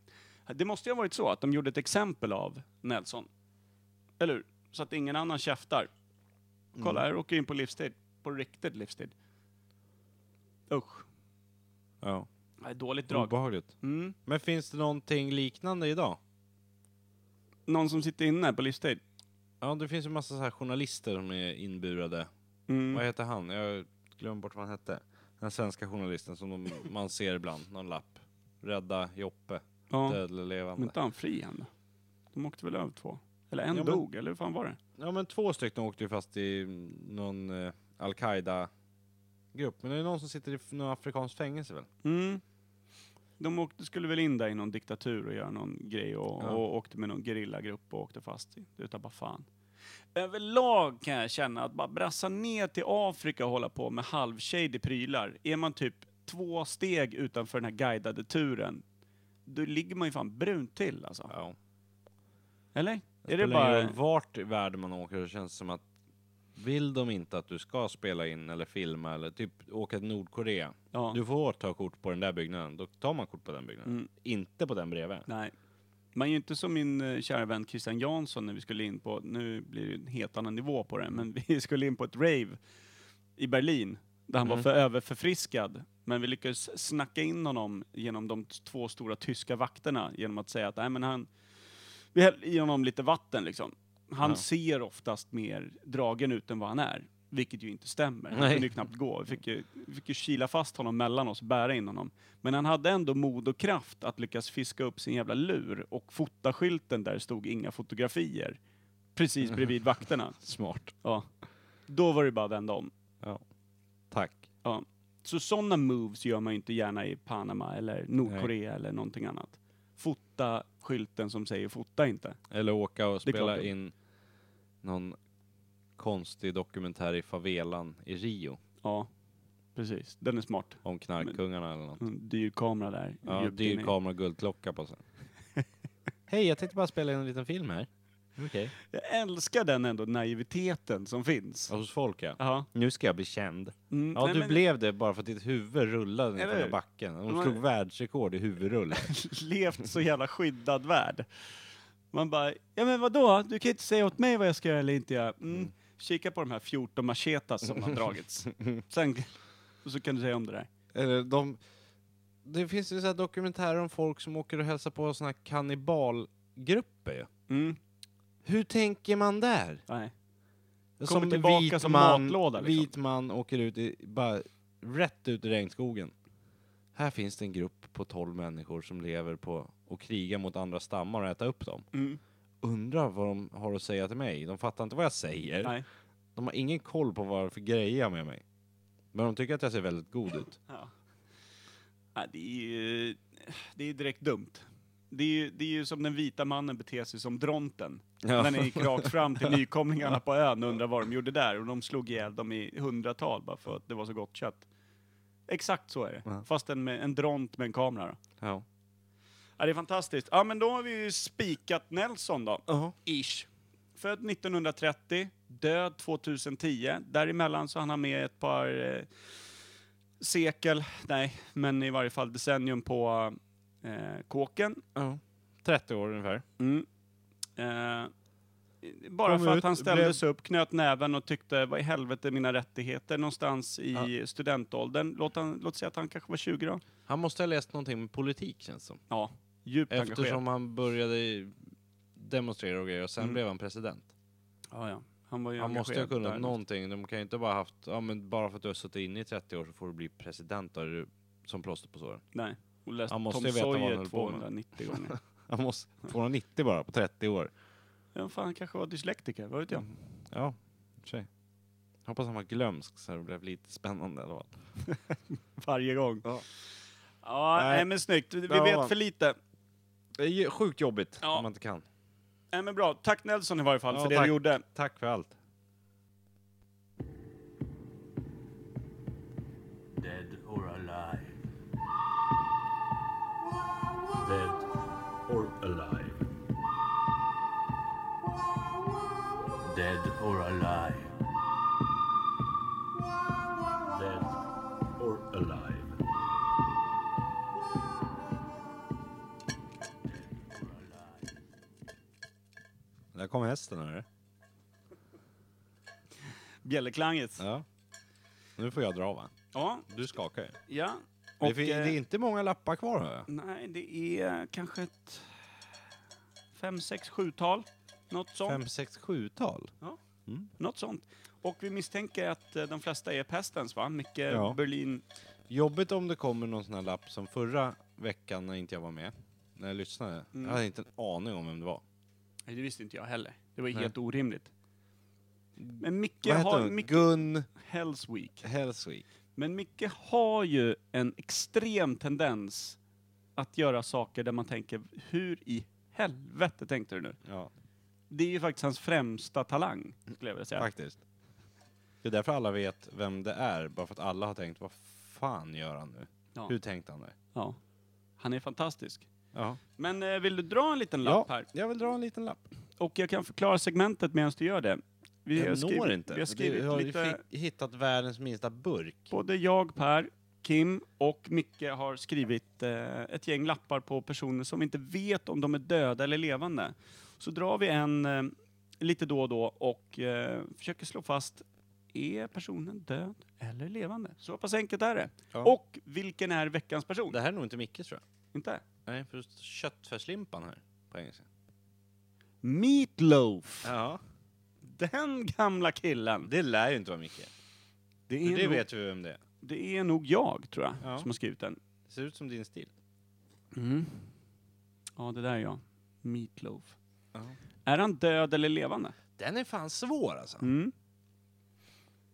Det måste ju ha varit så att de gjorde ett exempel av Nelson. Eller hur? Så att ingen annan käftar.
Mm.
Kolla, här åker jag in på livstid. På riktigt livstid. Usch.
Ja.
Nej, dåligt drag.
Obehagligt.
Mm.
Men finns det någonting liknande idag?
Någon som sitter inne på livstid.
Ja, det finns ju massa så här journalister som är inburade. Vad
Mm.
heter han? Jag glömmer bort vad han hette. Den svenska journalisten som de, man ser ibland, någon lapp. Rädda Joppe,
Ja.
död eller
Men
levande.
inte han fri än då? De åkte väl över två? Eller en
Ja, men-
dog, eller hur fan var det?
Ja men två stycken åkte ju fast i mm, någon eh, Al-Qaida-grupp. Men det är någon som sitter i f- någon afrikansk fängelse väl?
Mm. De åkte, skulle väl in där i någon diktatur och göra någon grej och,
Ja.
och åkte med någon gerillagrupp och åkte fast. i. Det utan bara fan. Överlag kan jag känna att bara brassa ner till Afrika och hålla på med halvshady prylar. Är man typ två steg utanför den här guidade turen, då ligger man ju fan brunt till alltså.
Ja.
Eller? Är det
spelar ingen
bara...
roll vart i världen man åker så känns det som att vill de inte att du ska spela in eller filma eller typ åka till Nordkorea.
Ja.
Du får ta kort på den där byggnaden, då tar man kort på den byggnaden.
Mm.
Inte på den bredvid.
Nej. Man är ju inte som min eh, kära vän Christian Jansson när vi skulle in på, nu blir det en helt annan nivå på det, men vi skulle in på ett rave i Berlin där han var
Mm.
för överförfriskad. Men vi lyckades snacka in honom genom de t- två stora tyska vakterna genom att säga att nej men han, vi häller i honom lite vatten liksom. Han
Ja.
ser oftast mer dragen ut än vad han är. Vilket ju inte stämmer. Han
Nej.
kunde ju knappt gå. Vi fick ju, vi fick ju kila fast honom mellan oss och bära in honom. Men han hade ändå mod och kraft att lyckas fiska upp sin jävla lur och fota skylten där det stod inga fotografier. Precis bredvid vakterna.
Smart.
Ja. Då var det bara att vända om.
Tack.
Så sådana moves gör man ju inte gärna i Panama eller Nordkorea eller någonting annat. Fota skylten som säger fota inte.
Eller åka och
Det är klart
spela
det.
in någon konstig dokumentär i favelan i Rio
Ja, precis. Den är smart.
om knarkkungarna eller något.
En dyr kamera där.
Ja,
djupt
dyr
inne i-
kamera och guldklocka på sig. Hej, jag tänkte bara spela in en liten film här. Okej.
Jag älskar den ändå naiviteten som finns.
Hos folk ja.
Ja.
Nu ska jag bli känd.
Mm,
Ja,
nej,
du
men
blev det bara för att ditt huvud rullade
Eller
ner för
hur?
backen. De
Men-
slog världsrekord i huvudrull.
Levt så jävla skyddad värld. Man bara, ja men vadå? Du kan inte säga åt mig vad jag ska göra eller inte göra. Mm. Kika på de här 14 machetas som har dragits. Sen, och så kan du säga om det där.
Eller de... Det finns ju så här dokumentärer om folk som åker och hälsar på såna här kannibalgrupper ju.
Mm.
Hur tänker man där?
Nej. Kommer tillbaka som matlåda, liksom.
Vit man åker ut i, bara rätt ut i regnskogen. Här finns det en grupp på 12 människor som lever på och krigar mot andra stammar och äta upp dem.
Mm.
Undrar vad de har att säga till mig. De fattar inte vad jag säger.
Nej.
De har ingen koll på vad det är för grejer jag har med mig. Men de tycker att jag ser väldigt god ut.
Ja. Ja, det är ju det är direkt dumt. Det är, ju, det är ju som den vita mannen beter sig som dronten. När han gick rakt fram till nykomlingarna på ön och undrade vad de gjorde där. Och de slog ihjäl dem i hundratal bara för att det var så gott kött. Exakt så är det.
Ja.
Fast en, med, en dront med en kamera. Då.
Ja.
Ja, det är fantastiskt. Ja, men då har vi ju spikat Nelson då. Ish. Född 1930, död 2010. Däremellan så han har med ett par eh, sekel, nej, men i varje fall decennium på eh, kåken.
Ja. 30 år ungefär.
Mm. Eh, bara
Kom
för att
ut,
han ställde
blev-
sig upp, knöt näven och tyckte vad i helvete är mina rättigheter någonstans i studentåldern. Låt, han, låt säga att han kanske var 20 då.
Han måste ha läst någonting med politik känns det som.
Ja, djupt engagerad.
Eftersom han började demonstrera och grejer och sen
Mm.
blev han president.
Ja, ja. Han, var ju
Han måste ha
engagerad där.
kunnat någonting. De kan ju inte bara haft, ja men bara för att du har suttit inne i 30 år så får du bli president då är du som plåster på såren.
Nej. Och läst
Han måste
Tom
ju veta vad han
Sawyer
höll på med.
290 gånger.
Han måste, 290 bara på 30 år.
Ja, fan, han kanske var dyslektiker, vad vet jag?
Ja, i och för sig. Hoppas han var glömsk så det blev lite spännande i alla fall.
Varje gång. Ja,
Ja.
nej.
Nej.
men snyggt. Vi vi
Ja.
vet för lite.
Det är ju sjukt jobbigt
Ja.
om man inte kan.
Nej, men bra. Tack Nelson i varje fall
Ja,
för det
tack.
du gjorde.
Tack för allt.
Dead or alive. Dead or alive. Dead or alive. Dead or alive.
Där kom hästen hörru.
Bjällerklanget. Ja.
Ja. Nu får jag dra va?
ja.
Du skakar ju.
Och,
det, fin- det är
eh,
inte många lappar kvar hör jag.
Nej, det är kanske ett fem, sex, sjutal. Något sånt.
Fem, sex, sjutal.
Något sånt. Och vi misstänker att eh, de flesta är pestens, va? Mycket
Ja.
Berlin.
Jobbigt om det kommer någon sån här lapp som förra veckan när inte jag var med. När jag lyssnade.
Mm.
Jag hade inte en aning om vem det var.
Nej, det visste inte jag heller. Det var ju
Nej.
helt orimligt. Men Micke
Vad hette
har...
hon?
Micke
Gun
Hellsweek.
Hellsvik.
Men Micke har ju en extrem tendens att göra saker där man tänker, hur i helvete tänkte du nu?
Ja,
Det är ju faktiskt hans främsta talang, skulle jag vilja säga.
faktiskt. Det är därför alla vet vem det är. Bara för att alla har tänkt, vad fan gör han nu?
Ja.
Hur tänkte han det?
Ja. Han är fantastisk.
Ja.
Men eh, vill du dra en liten
ja,
lapp här?
jag vill dra en liten lapp.
och jag kan förklara segmentet medan du gör det. Vi har
Jag
skrivit-
når inte.
Vi har skrivit
du har ju
lite...
fi- hittat världens minsta burk.
Både jag, Per, Kim och Micke har skrivit eh, ett gäng lappar på personer som vi inte vet om de är döda eller levande. Så drar vi en eh, lite då och då och eh, försöker slå fast är personen död eller levande? Så pass enkelt är det.
Ja.
Och vilken är veckans person?
Det här är nog inte Mickes tror jag.
Inte?
Nej, för det står köttfärslimpan här på engelska.
Meatloaf!
Ja.
Den gamla killen!
Det lär ju inte vara Micke.
Det
För
är,
det
nog,
vet vi vem det är.
det är nog jag, tror jag,
Ja.
som har skrivit den.
Det ser ut som din stil.
Mm. Ja, det där är jag. Meatloaf.
Ja.
Är han död eller levande?
Den är fan svår alltså.
Mm.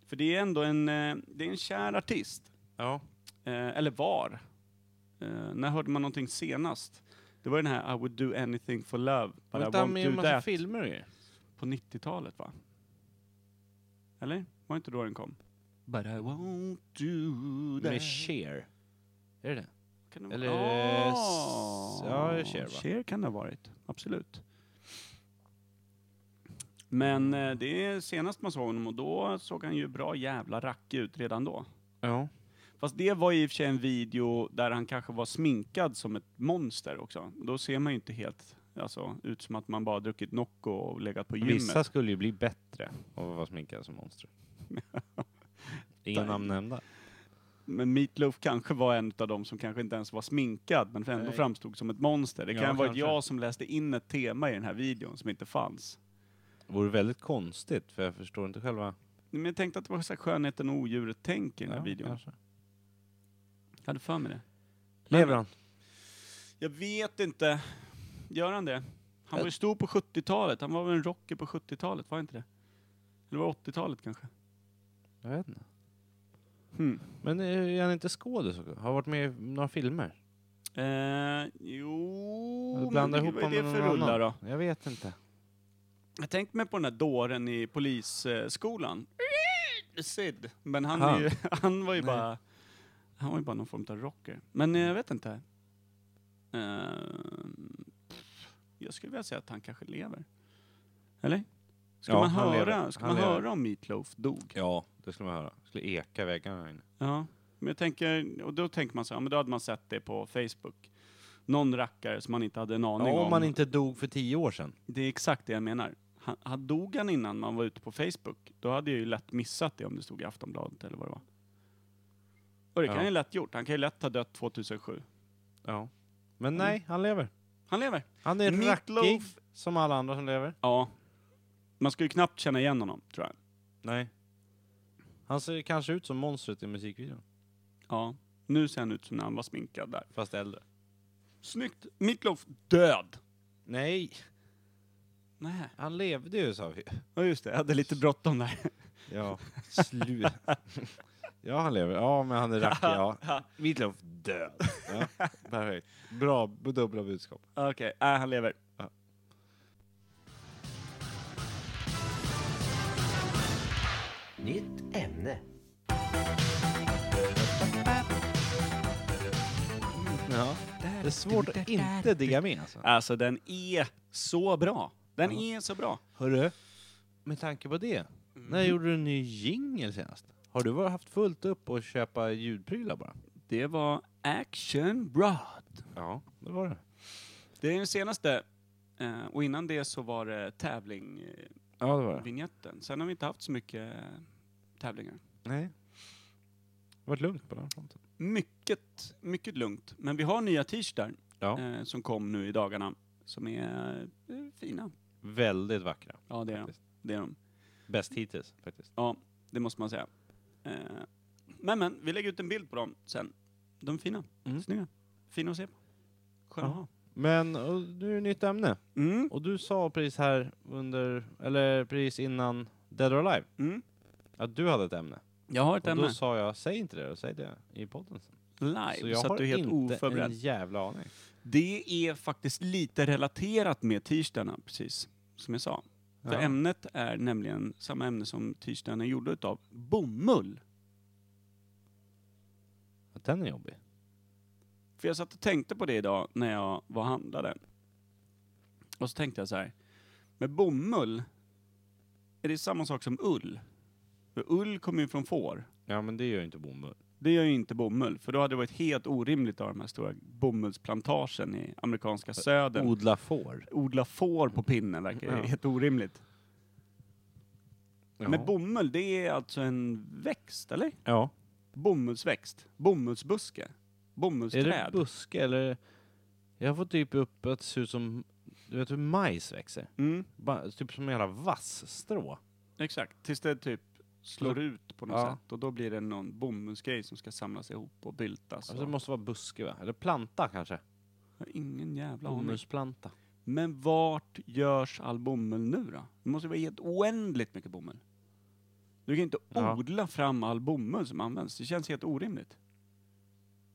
För det är ändå en, eh, det är en kär artist.
Ja.
Eh, eller var. Eh, när hörde man någonting senast? Det var den här I would do anything for love, but I
Var inte han med i en
won't do
massa
that.
filmer och grejer?
På 90-talet va? Eller? Var inte då den kom? But I won't do that.
Med Cher. Är det det?
Kan det
Eller,
vara- Ah,
eh, s- ja, det är Cher, va?
Cher kan det ha varit, absolut. Men eh, det är senast man såg honom och då såg han ju bra jävla rack ut redan då.
Ja.
Fast det var i och för sig en video där han kanske var sminkad som ett monster också. Då ser man ju inte helt alltså, ut som att man bara druckit Nocco och legat på gymmet.
Vissa skulle ju bli bättre av att vara sminkade som monster. Inga
Nej.
namn nämnda.
Men Meatloaf kanske var en av dem som kanske inte ens var sminkad, men ändå
Nej.
framstod som ett monster. Det
Ja,
kan ha varit
kanske.
jag som läste in ett tema i den här videon som inte fanns.
Det vore väldigt konstigt, för jag förstår inte själva...
Men jag tänkte att det var så här skönheten och odjuret tänk i den här videon.
kanske.
Jag hade för mig det.
Lever han?
Jag vet inte. Gör han det? Han var ju stor på 70-talet. Han var väl en rocker på 70-talet, var inte det? Eller var det 80-talet kanske?
Jag vet inte.
Hmm.
Men eh, är han inte skådis också? Har varit med i några filmer?
Eh, jo,
Eller blandar
men
ihop
vad är
honom
det
med
för
någon
rullar då?
annan? Jag vet inte.
Jag tänkte mig på den här dåren i polisskolan. Sid. Men han,
Han.
Är ju, han var ju
Nej.
bara... Han var ju bara någon form av rocker. Men eh, jag vet inte. Eh, jag skulle vilja säga att han kanske lever. Eller? Ska
Ja,
man,
han
höra,
lever.
ska
Han
man
lever.
höra om Meatloaf dog?
Ja, det skulle man höra. Skulle eka i väggarna här inne.
Ja, men jag tänker, och då tänker man så här, ja, men då hade man sett det på Facebook. Någon rackare som man inte hade en aning
Ja,
om.
om man inte dog för tio år sedan.
Det är exakt det jag menar. Han, han dog han innan man var ute på Facebook, då hade jag ju lätt missat det om det stod i Aftonbladet eller vad det var. Och det kan
Ja.
han ju lätt gjort. Han kan ju lätt ha dött 2007.
Ja. Men nej, han lever.
Han lever.
Han är
Meatloaf.
rackig, som alla andra som lever.
Ja. Man skulle ju knappt känna igen honom, tror jag.
Nej. Han ser kanske ut som monstret i musikvideon.
Ja. Nu ser han ut som när han var sminkad där.
Fast äldre.
Snyggt! Meatloaf död!
Nej,
Nej.
han levde ju sa vi.
Ja just det, jag hade lite bråttom där.
Ja, slut. ja, han lever. Ja, men han är rackig. Ja. Meatloaf död. Ja, perfekt. Bra, dubbla budskap.
Okej, äh, han lever.
Nytt ämne.
Ja. Det är svårt att inte digga med alltså.
Alltså den är så bra. Den är så bra.
Hörru, med tanke på det. När gjorde du en ny jingle senast? Har du varit- haft fullt upp och köpa ljudprylar bara?
Det var Action Broad.
Ja, det var det.
Det är den senaste. Eh, och innan det så var det tävlingvinjetten.
Ja, det var det.
Sen har vi inte haft så mycket eh, tävlingar.
Nej. Det var lugnt på den fronten.
Mycket, mycket lugnt. Men vi har nya t-shirtar
Ja.
eh, som kom nu i dagarna. Som är eh, fina.
Väldigt vackra.
Ja, det är de.
Faktiskt.
Det är de.
Bäst hittills faktiskt.
Ja, det måste man säga. Eh, men men, vi lägger ut en bild på dem sen. De är fina.
Mm.
Snygga. Fina att se på. Sköna att ha.
Men och nu är det nytt ämne.
Mm,
Och du sa precis här under, eller precis innan Dead or Alive,
mm.
att du hade ett ämne.
Jag har ett
och då
ämne.
sa jag, säg inte det, då, säg det i podden sen.
Live,
Så
så,
jag
att
har
du är helt
inte en
oförberedd.
jävla aning.
Det är faktiskt lite relaterat med tisdagarna, precis som jag sa. För
Ja.
ämnet är nämligen samma ämne som tisdagarna gjorde utav bomull.
Att Den är jobbig.
För jag satt och tänkte på det idag när jag var och handlade. Och så tänkte jag så här. Med bomull, är det samma sak som ull? För ull kommer ju från får.
Ja, men det gör ju inte bomull.
Det gör ju inte bomull, för då hade det varit helt orimligt att ha de här stora bomullsplantagen i amerikanska södern.
Odla får.
Odla får på pinnen verkar
Ja.
helt orimligt.
Ja.
Men bomull, det är alltså en växt, eller?
ja.
Bomullsväxt, bomullsbuske,
Är det
bomullsträd.
buske eller? Jag får typ upp att det ser ut som, du vet hur majs växer?
mm,
Ba, typ som jävla vassstrå.
exakt, tills det typ slår ut på något
Ja.
sätt och då blir det någon bomullsgrej som ska samlas ihop och byltas.
Alltså, det
och-
måste vara buske va? Eller planta kanske?
Jag har ingen jävla aning.
Bomullsplanta.
Men vart görs all bomull nu då? Det måste ju vara helt oändligt mycket bomull. Du kan ju inte
Ja.
odla fram all bomull som används. Det känns helt orimligt.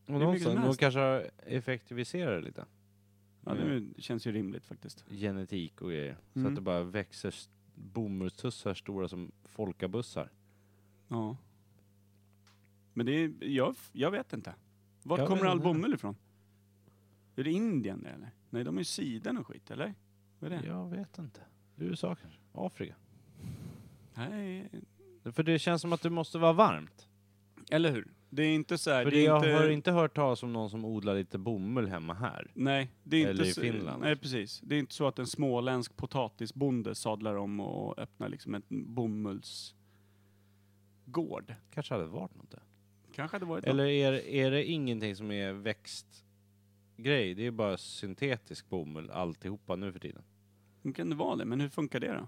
Och
mycket som
någonstans, de
helst.
kanske har effektiviserat det lite.
Ja, det känns ju rimligt faktiskt.
Genetik och grejer. Så
Mm.
att det bara växer s- bomullstussar stora som folkabussar.
Ja. Men det är, jag, jag vet inte. Vart
Jag
kommer
vet
all
inte.
bomull ifrån? Är det Indien det eller? Nej, de är ju sidan och skit, eller? Vad är det?
Jag vet inte. USA kanske? Afrika?
Nej,
För det känns som att det måste vara varmt.
eller hur? Det är inte så här...
För
det är
jag
inte...
har inte hört talas om någon som odlar lite bomull hemma här.
Nej, det är
Eller
inte
i Finland.
Nej, precis. Det är inte så att en småländsk potatisbonde sadlar om och öppnar liksom en bomullsgård.
Kanske hade varit något där.
Kanske hade varit
Eller är, är det ingenting som är växtgrej? Det är bara syntetisk bomull alltihopa nu för tiden.
något. Kan det vara det? Men hur funkar det då?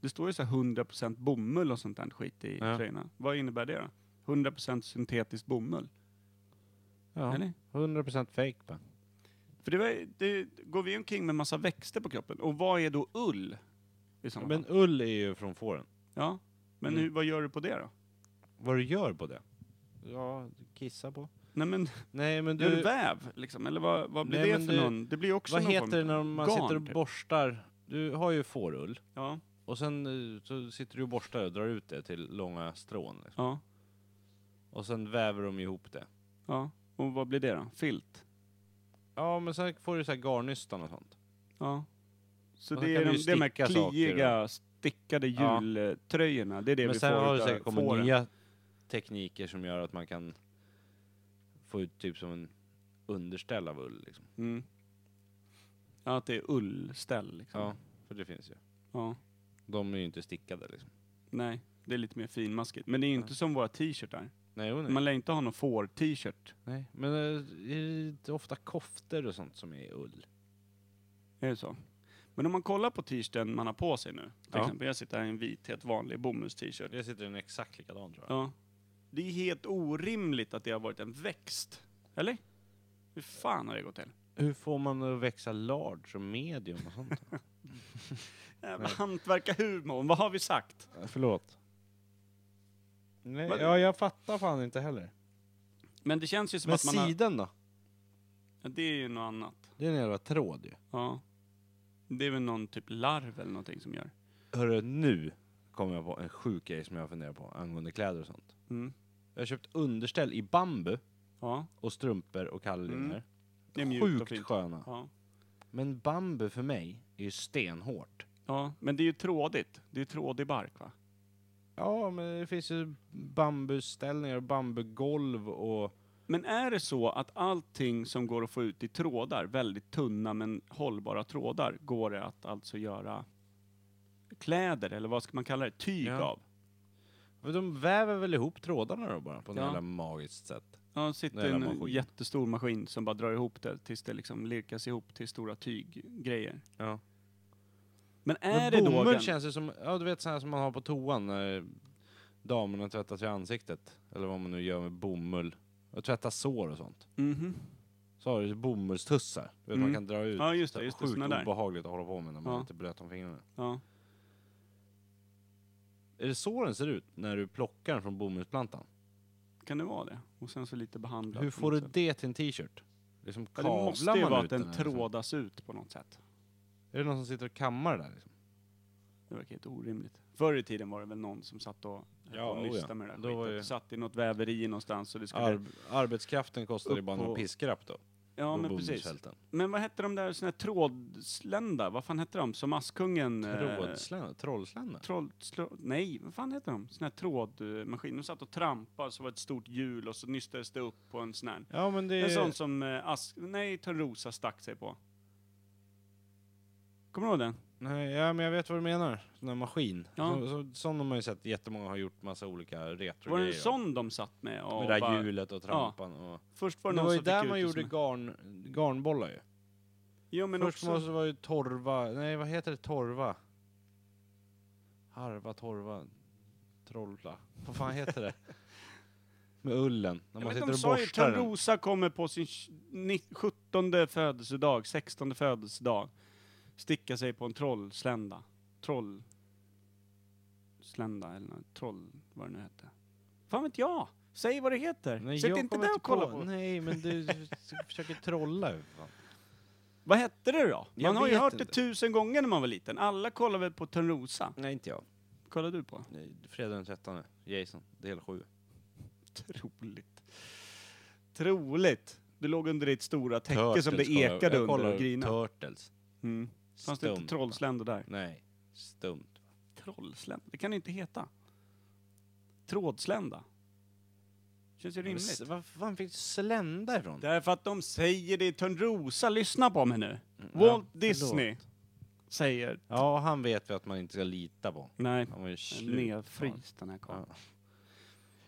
Det står ju så här 100% bomull och sånt där skit i
Ja.
tröjorna. Vad innebär det då? 100% syntetisk bomull?
Ja.
Eller?
100% fake va?
För det, var, det går vi omkring med massa växter på kroppen. Och vad är då ull? I sådana
Men
fall?
ull är ju från fåren.
Ja. Men
Mm.
hur, vad gör du på det då?
Vad du gör på det? Ja, kissa på.
Nej men,
Nej men
gör du
du,
väv liksom? Eller vad, vad blir
Nej,
det
men
för
du-
någon? Det blir ju också
vad
någon
heter
form-
det när man
garn,
sitter och
typ.
borstar? Du har ju fårull.
Ja.
Och sen eh, så sitter du och borstar och drar ut det till långa strån. Liksom.
Ja,
Och sen väver de ihop det.
ja. Och vad blir det då? Filt?
Ja men sen får du så här garnnystan och sånt.
Ja. Så
Och
det
sen
är
kan
de,
du ju
det är de här
sticka saker
kligiga, stickade
Ja.
jultröjorna. Det är det
Men
vi
sen
får
har det
utav
säkert kommit
fåren.
nya tekniker som gör att man kan få ut typ som en underställ av ull liksom.
Mm. Ja, att det är ullställ liksom.
Ja, för det finns ju.
Ja.
De är ju inte stickade liksom.
Nej, det är lite mer finmaskigt. Men det är ju inte som våra t-shirtar.
Nej, jo, nej.
Man lär inte ha någon får-t-shirt.
nej. Men eh, är det inte ofta koftor och sånt som är ull?
Är det så? Men om man kollar på t-shirten man har på sig nu. Till
Ja.
exempel, jag sitter här i en vit, helt vanlig bomulls-t-shirt.
Det sitter en exakt likadan tror jag.
Ja. Det är helt orimligt att det har varit en växt. Eller? Hur fan har det gått till?
Hur får man det att växa large och medium och sånt?
Jävla hantverkarhumorn, vad har vi sagt?
Eh, Förlåt. Nej,
Men-
ja, jag fattar fan inte heller.
Men det känns ju som
Men
att man har...
siden då?
Ja, Det är ju något annat.
Det är en jävla tråd ju.
Ja. Det är väl någon typ larv eller någonting som gör.
Hörru, nu kommer jag på en sjuk grej som jag funderar på angående kläder och sånt.
Mm.
Jag har köpt underställ i bambu
Ja,
och strumpor och kallingar.
det är mjukt och
Sjukt
fint.
sköna.
Ja.
Men bambu för mig är ju stenhårt.
ja, men det är ju trådigt. Det är ju trådig bark va?
Ja, men det finns ju bambuställningar och bambugolv och...
Men är det så att allting som går att få ut i trådar, väldigt tunna men hållbara trådar, går det att alltså göra kläder eller vad ska man kalla det? Tyg
Ja.
av?
Men De väver väl ihop trådarna då bara på något
Ja.
jävla magiskt sätt.
Ja, sitter
Jävla
en
maskin.
jättestor maskin som bara drar ihop det tills det liksom lirkas ihop till stora tyggrejer.
Ja.
Men är
Men
det då...
bomull
Den,
känns ju som, ja du vet sådana som man har på toan när damerna tvättar sig i ansiktet. Eller vad man nu gör med bomull. Och tvättar sår och sånt.
Mhm.
Så har du bomullstussar. Du vet,
Mm.
Man kan dra ut.
Ja, just det,
Så
just det,
sjukt
såna där.
obehagligt att hålla på med när man
Ja.
är lite blöt om fingrarna.
Ja.
Är det så den ser ut när du plockar den från bomullsplantan?
Kan det vara det? Och sen så lite behandlat.
Hur
på
får
något
du
sätt.
det till en t-shirt? Liksom
Ja,
kavlar
det måste ju
man
vara
ut
att den
här, liksom?
trådas ut på något sätt.
Är det någon som sitter och kammar där? Liksom?
Det verkar helt orimligt. Förr i tiden var det väl någon som satt och,
Ja,
och
oh ja.
nystade med det där
Då var
skitet.
ju-
Satt i något väveri någonstans och det skulle...
Arb arbetskraften kostar ju
Upp
bara någon
på-
piskrapp då.
Ja,
på
men precis.
bomullsfälten.
Men vad hette de där såna här trådslända? Vad fan hette de? Som Askungen... eh,
Trådslända? Trollslända?
Troll, slå, nej, vad fan heter de? Såna här trådmaskiner. De satt och trampade, så var det ett stort hjul och så nystades det upp på en sån här.
Ja men det
En sån
är...
som eh, Ask... Nej, Törnrosa stack sig på. Kommer du ihåg den?
Nej, ja, men jag vet vad du menar. Sån där maskin.
Ja.
Så, så, sån har man ju sett jättemånga har gjort massa olika retro
Var det en sån de satt med? Och
Med det
bara-
där hjulet och trampan och...
Först var
Det
det någon
var ju
som fick
där
ut
man
det
gjorde
som-
garn, garnbollar ju.
Jo, men
Först
också...
måste det vara ju torva, nej vad heter det torva? Harva, torva, trolla. Vad fan heter det? Med ullen, när
Jag vet,
man sitter
de
och
sa ju
borstar den.
Törnrosa kommer på sin 17 födelsedag, 16 födelsedag, sticka sig på en trollslända. Troll... Slända eller något. troll, vad det nu hette. Fan vet jag! Säg vad det heter!
Nej,
Sitt
jag
inte
kommer
där och kolla på.
Nej, men du försöker trolla ju för fan.
Vad hette det då?
Jag
Man har ju
vet
hört det
inte.
tusen gånger när man var liten. Alla kollar väl på Törnrosa?
Nej, inte jag.
Kollar du på?
Nej, Fredag den 13, Jason, del 7.
Troligt. Troligt! Du låg under ditt stora täcke som det
kollar-
ekade
jag
under
kollar
och grinade.
Turtles.
Mm. Fanns det
Stumt,
inte trollsländor där?
Nej, stumt.
Trollslända? Det kan det inte heta. Trådslända. Känns ju rimligt.
Var fan fick du slända ifrån?
Därför att de säger det i Törnrosa. Lyssna på mig nu.
Mm, Ja,
Walt
förlåt.
Disney säger...
Ja, han vet vi att man inte ska lita på.
Nej,
Han var ju slut.
nedfryst den här karln.
Ja.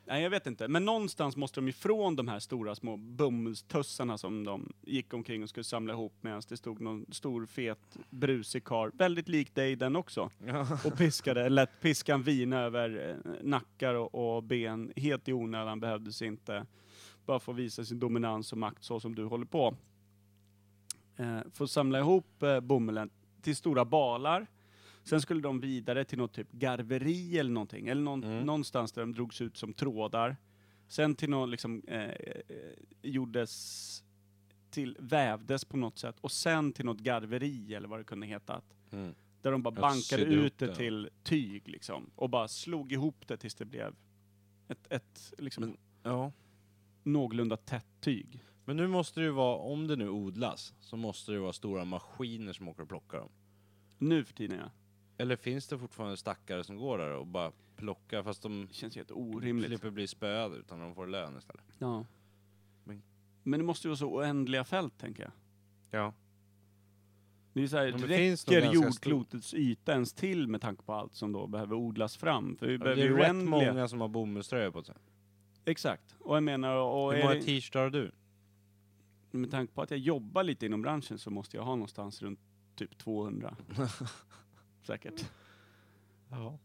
Nej, jag vet inte. Men någonstans måste de ifrån de här stora små bomullstussarna som de gick omkring och skulle samla ihop medan det stod någon stor, fet, brusig karl, väldigt lik dig den också,
Ja.
och piskade, lät piskan vina över eh, nackar och, och ben helt i onödan, behövdes inte. Bara få visa sin dominans och makt så som du håller på. Eh, få samla ihop eh, bomullen till stora balar. Sen skulle de vidare till något typ garveri eller någonting, eller någon,
Mm.
någonstans där de drogs ut som trådar. Sen till någon liksom, eh, eh, gjordes till, vävdes på något sätt och sen till något garveri eller vad det kunde heta.
Mm.
Där de bara
Jag
bankade
sydde
ut
ihop
det,
det.
till tyg liksom. Och bara slog ihop det tills det blev ett, ett liksom,
Men- ja.
någorlunda tätt tyg.
Men nu måste det ju vara, om det nu odlas, så måste det vara stora maskiner som åker och plockar dem.
Nu för tiden ja.
Eller finns det fortfarande stackare som går där och bara plockar fast de
Det känns helt orimligt.
slipper bli spöade utan de får lön istället?
Ja.
Men-
Men det måste ju vara så oändliga fält tänker jag.
Ja.
Det är så här,
Ja, men det finns nog
räcker
ganska
jordklotets yta ens till med tanke på allt som då behöver odlas fram? För vi
Det är
behöver ju
ju rätt
oändliga...
många som har bomullströjor på sig.
Exakt. Och jag menar, och
Hur
är
många
det, Mm.
t-shirtar har du?
med tanke på att jag jobbar lite inom branschen så måste jag ha någonstans runt typ 200. Säkert.
Ja.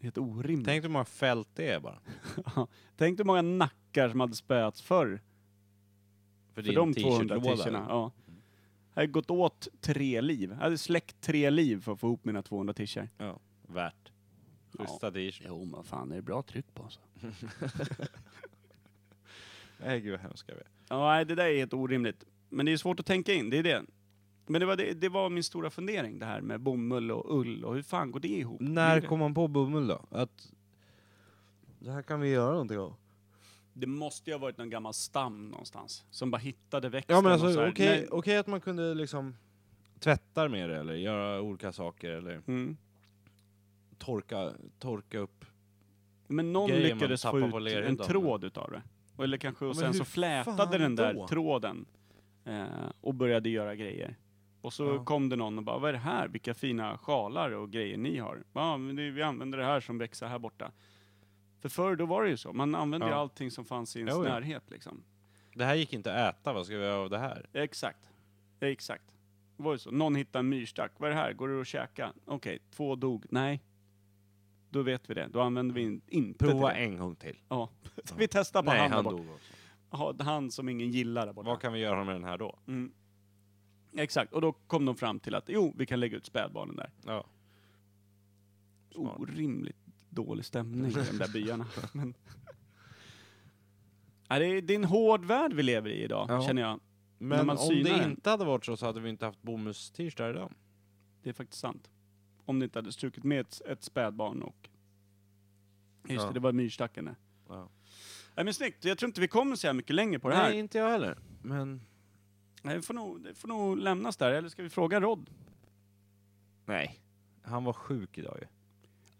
Helt orimligt. Tänk,
Tänk hur många fält det är bara.
Tänk dig hur många nackar som hade spöats förr för
För, din
de 200
t-shirtlåda.
t-shirtarna. Ja. Jag hade gått åt tre liv. Jag hade släckt tre liv för att få ihop mina 200 t-shirtar.
Värt. Schyssta t-shirts.
Jo men fan, det är bra tryck på alltså.
Nej gud vad hemska vi är.
Ja, nej, det där är helt orimligt. Men det är svårt att tänka in, det är det. Men det var, det, det var min stora fundering, det här med bomull och ull och hur fan går det ihop? Det är
När
det.
kom man på bomull då? Att det här kan vi göra någonting av.
Det måste ju ha varit någon gammal stam någonstans, som bara hittade växten
Ja men alltså
och så
okej
här,
okay,
nej-
att man kunde liksom tvätta med det eller göra olika saker eller
Mm.
torka, torka upp.
Men någon
Grejer man
lyckades få
tappar
ut
på lerhyddan.
en tråd utav det. Och- Eller kanske, och
men
sen
hur
så flätade
fan
den där
då?
tråden eh, och började göra grejer. Och så
Ja.
kom det någon och bara, vad är det här? Vilka fina sjalar och grejer ni har. Ja, men det, vi använder det här som växer här borta. För förr då var det ju så, man använde ju
Ja.
allting som fanns i ens
Jo, ja.
närhet liksom.
Det här gick inte att äta, vad ska vi göra av det här?
Exakt. Ja, Exakt. Det var ju så. Någon hittade en myrstack. Vad är det här? Går det att käka? Okej, två dog. Nej. Då vet vi det. Då använder vi in- inte
Prova
till det.
en gång till.
Ja. vi testar på
Nej,
han,
han
där borta.
dog också.
Ja, Han som ingen gillar där borta.
Vad kan vi göra med den här då?
Mm. Exakt, och då kom de fram till att jo, vi kan lägga ut spädbarnen där.
Ja. Smart.
Orimligt dålig stämning i de där byarna. Men... Ja, det, är, det är en hård värld vi lever i idag,
Ja.
känner jag. När
Men
man
om
synar
det
den.
inte hade varit så, så hade vi inte haft bomullst-t-shirtar idag.
Det är faktiskt sant. Om det inte hade strukit med ett, ett spädbarn och... Just
Ja.
det, det var myrstacken där.
Ja.
Nej men snyggt, jag tror inte vi kommer så här mycket längre på det här.
Nej, inte jag heller. Men
Nej, det får nog, det får nog lämnas där. Eller ska vi fråga Rod?
Nej. Han var sjuk idag ju.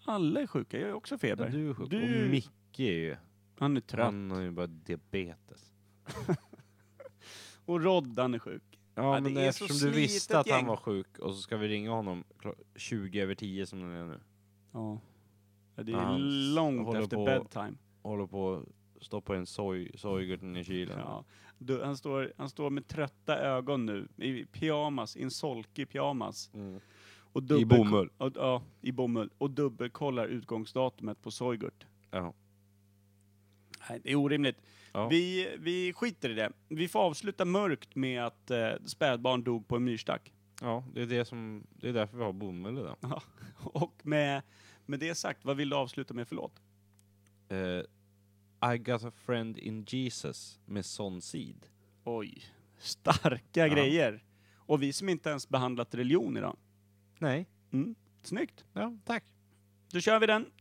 Alla är sjuka. Jag är också feber.
Ja, du är sjuk.
Du-
Och Micke är ju...
Han är trött.
Han har ju bara diabetes.
Och Rod, han är sjuk.
Ja,
Ja,
men
det är så
eftersom du visste
slitet
att han
gäng.
var sjuk och så ska vi ringa honom klo- 20 över 10 som den är nu.
Ja. Ja, Det är
Han s-
långt
håller
efter
på-
bedtime.
Håller på att stoppa en soj, sojgurten i kylen.
Ja. Du, han, står, han står med trötta ögon nu, i pyjamas, i en solkig pyjamas.
Mm.
Och
I
dubbelko-
bomull.
Och, ja, i bomull. Och dubbelkollar utgångsdatumet på Soygurt.
Ja.
Nej, det är orimligt.
Ja.
Vi, vi skiter i det. Vi får avsluta mörkt med att eh, spädbarn dog på en myrstack.
Ja, det är, det, som, det är därför vi har bomull idag.
Och med, med det sagt, vad vill du avsluta med för låt?
Eh, I got a friend in Jesus med sån sid.
Oj, starka
Ja.
grejer. Och vi som inte ens behandlat religion idag.
Nej.
Mm. Snyggt.
Ja, tack.
Då kör vi den.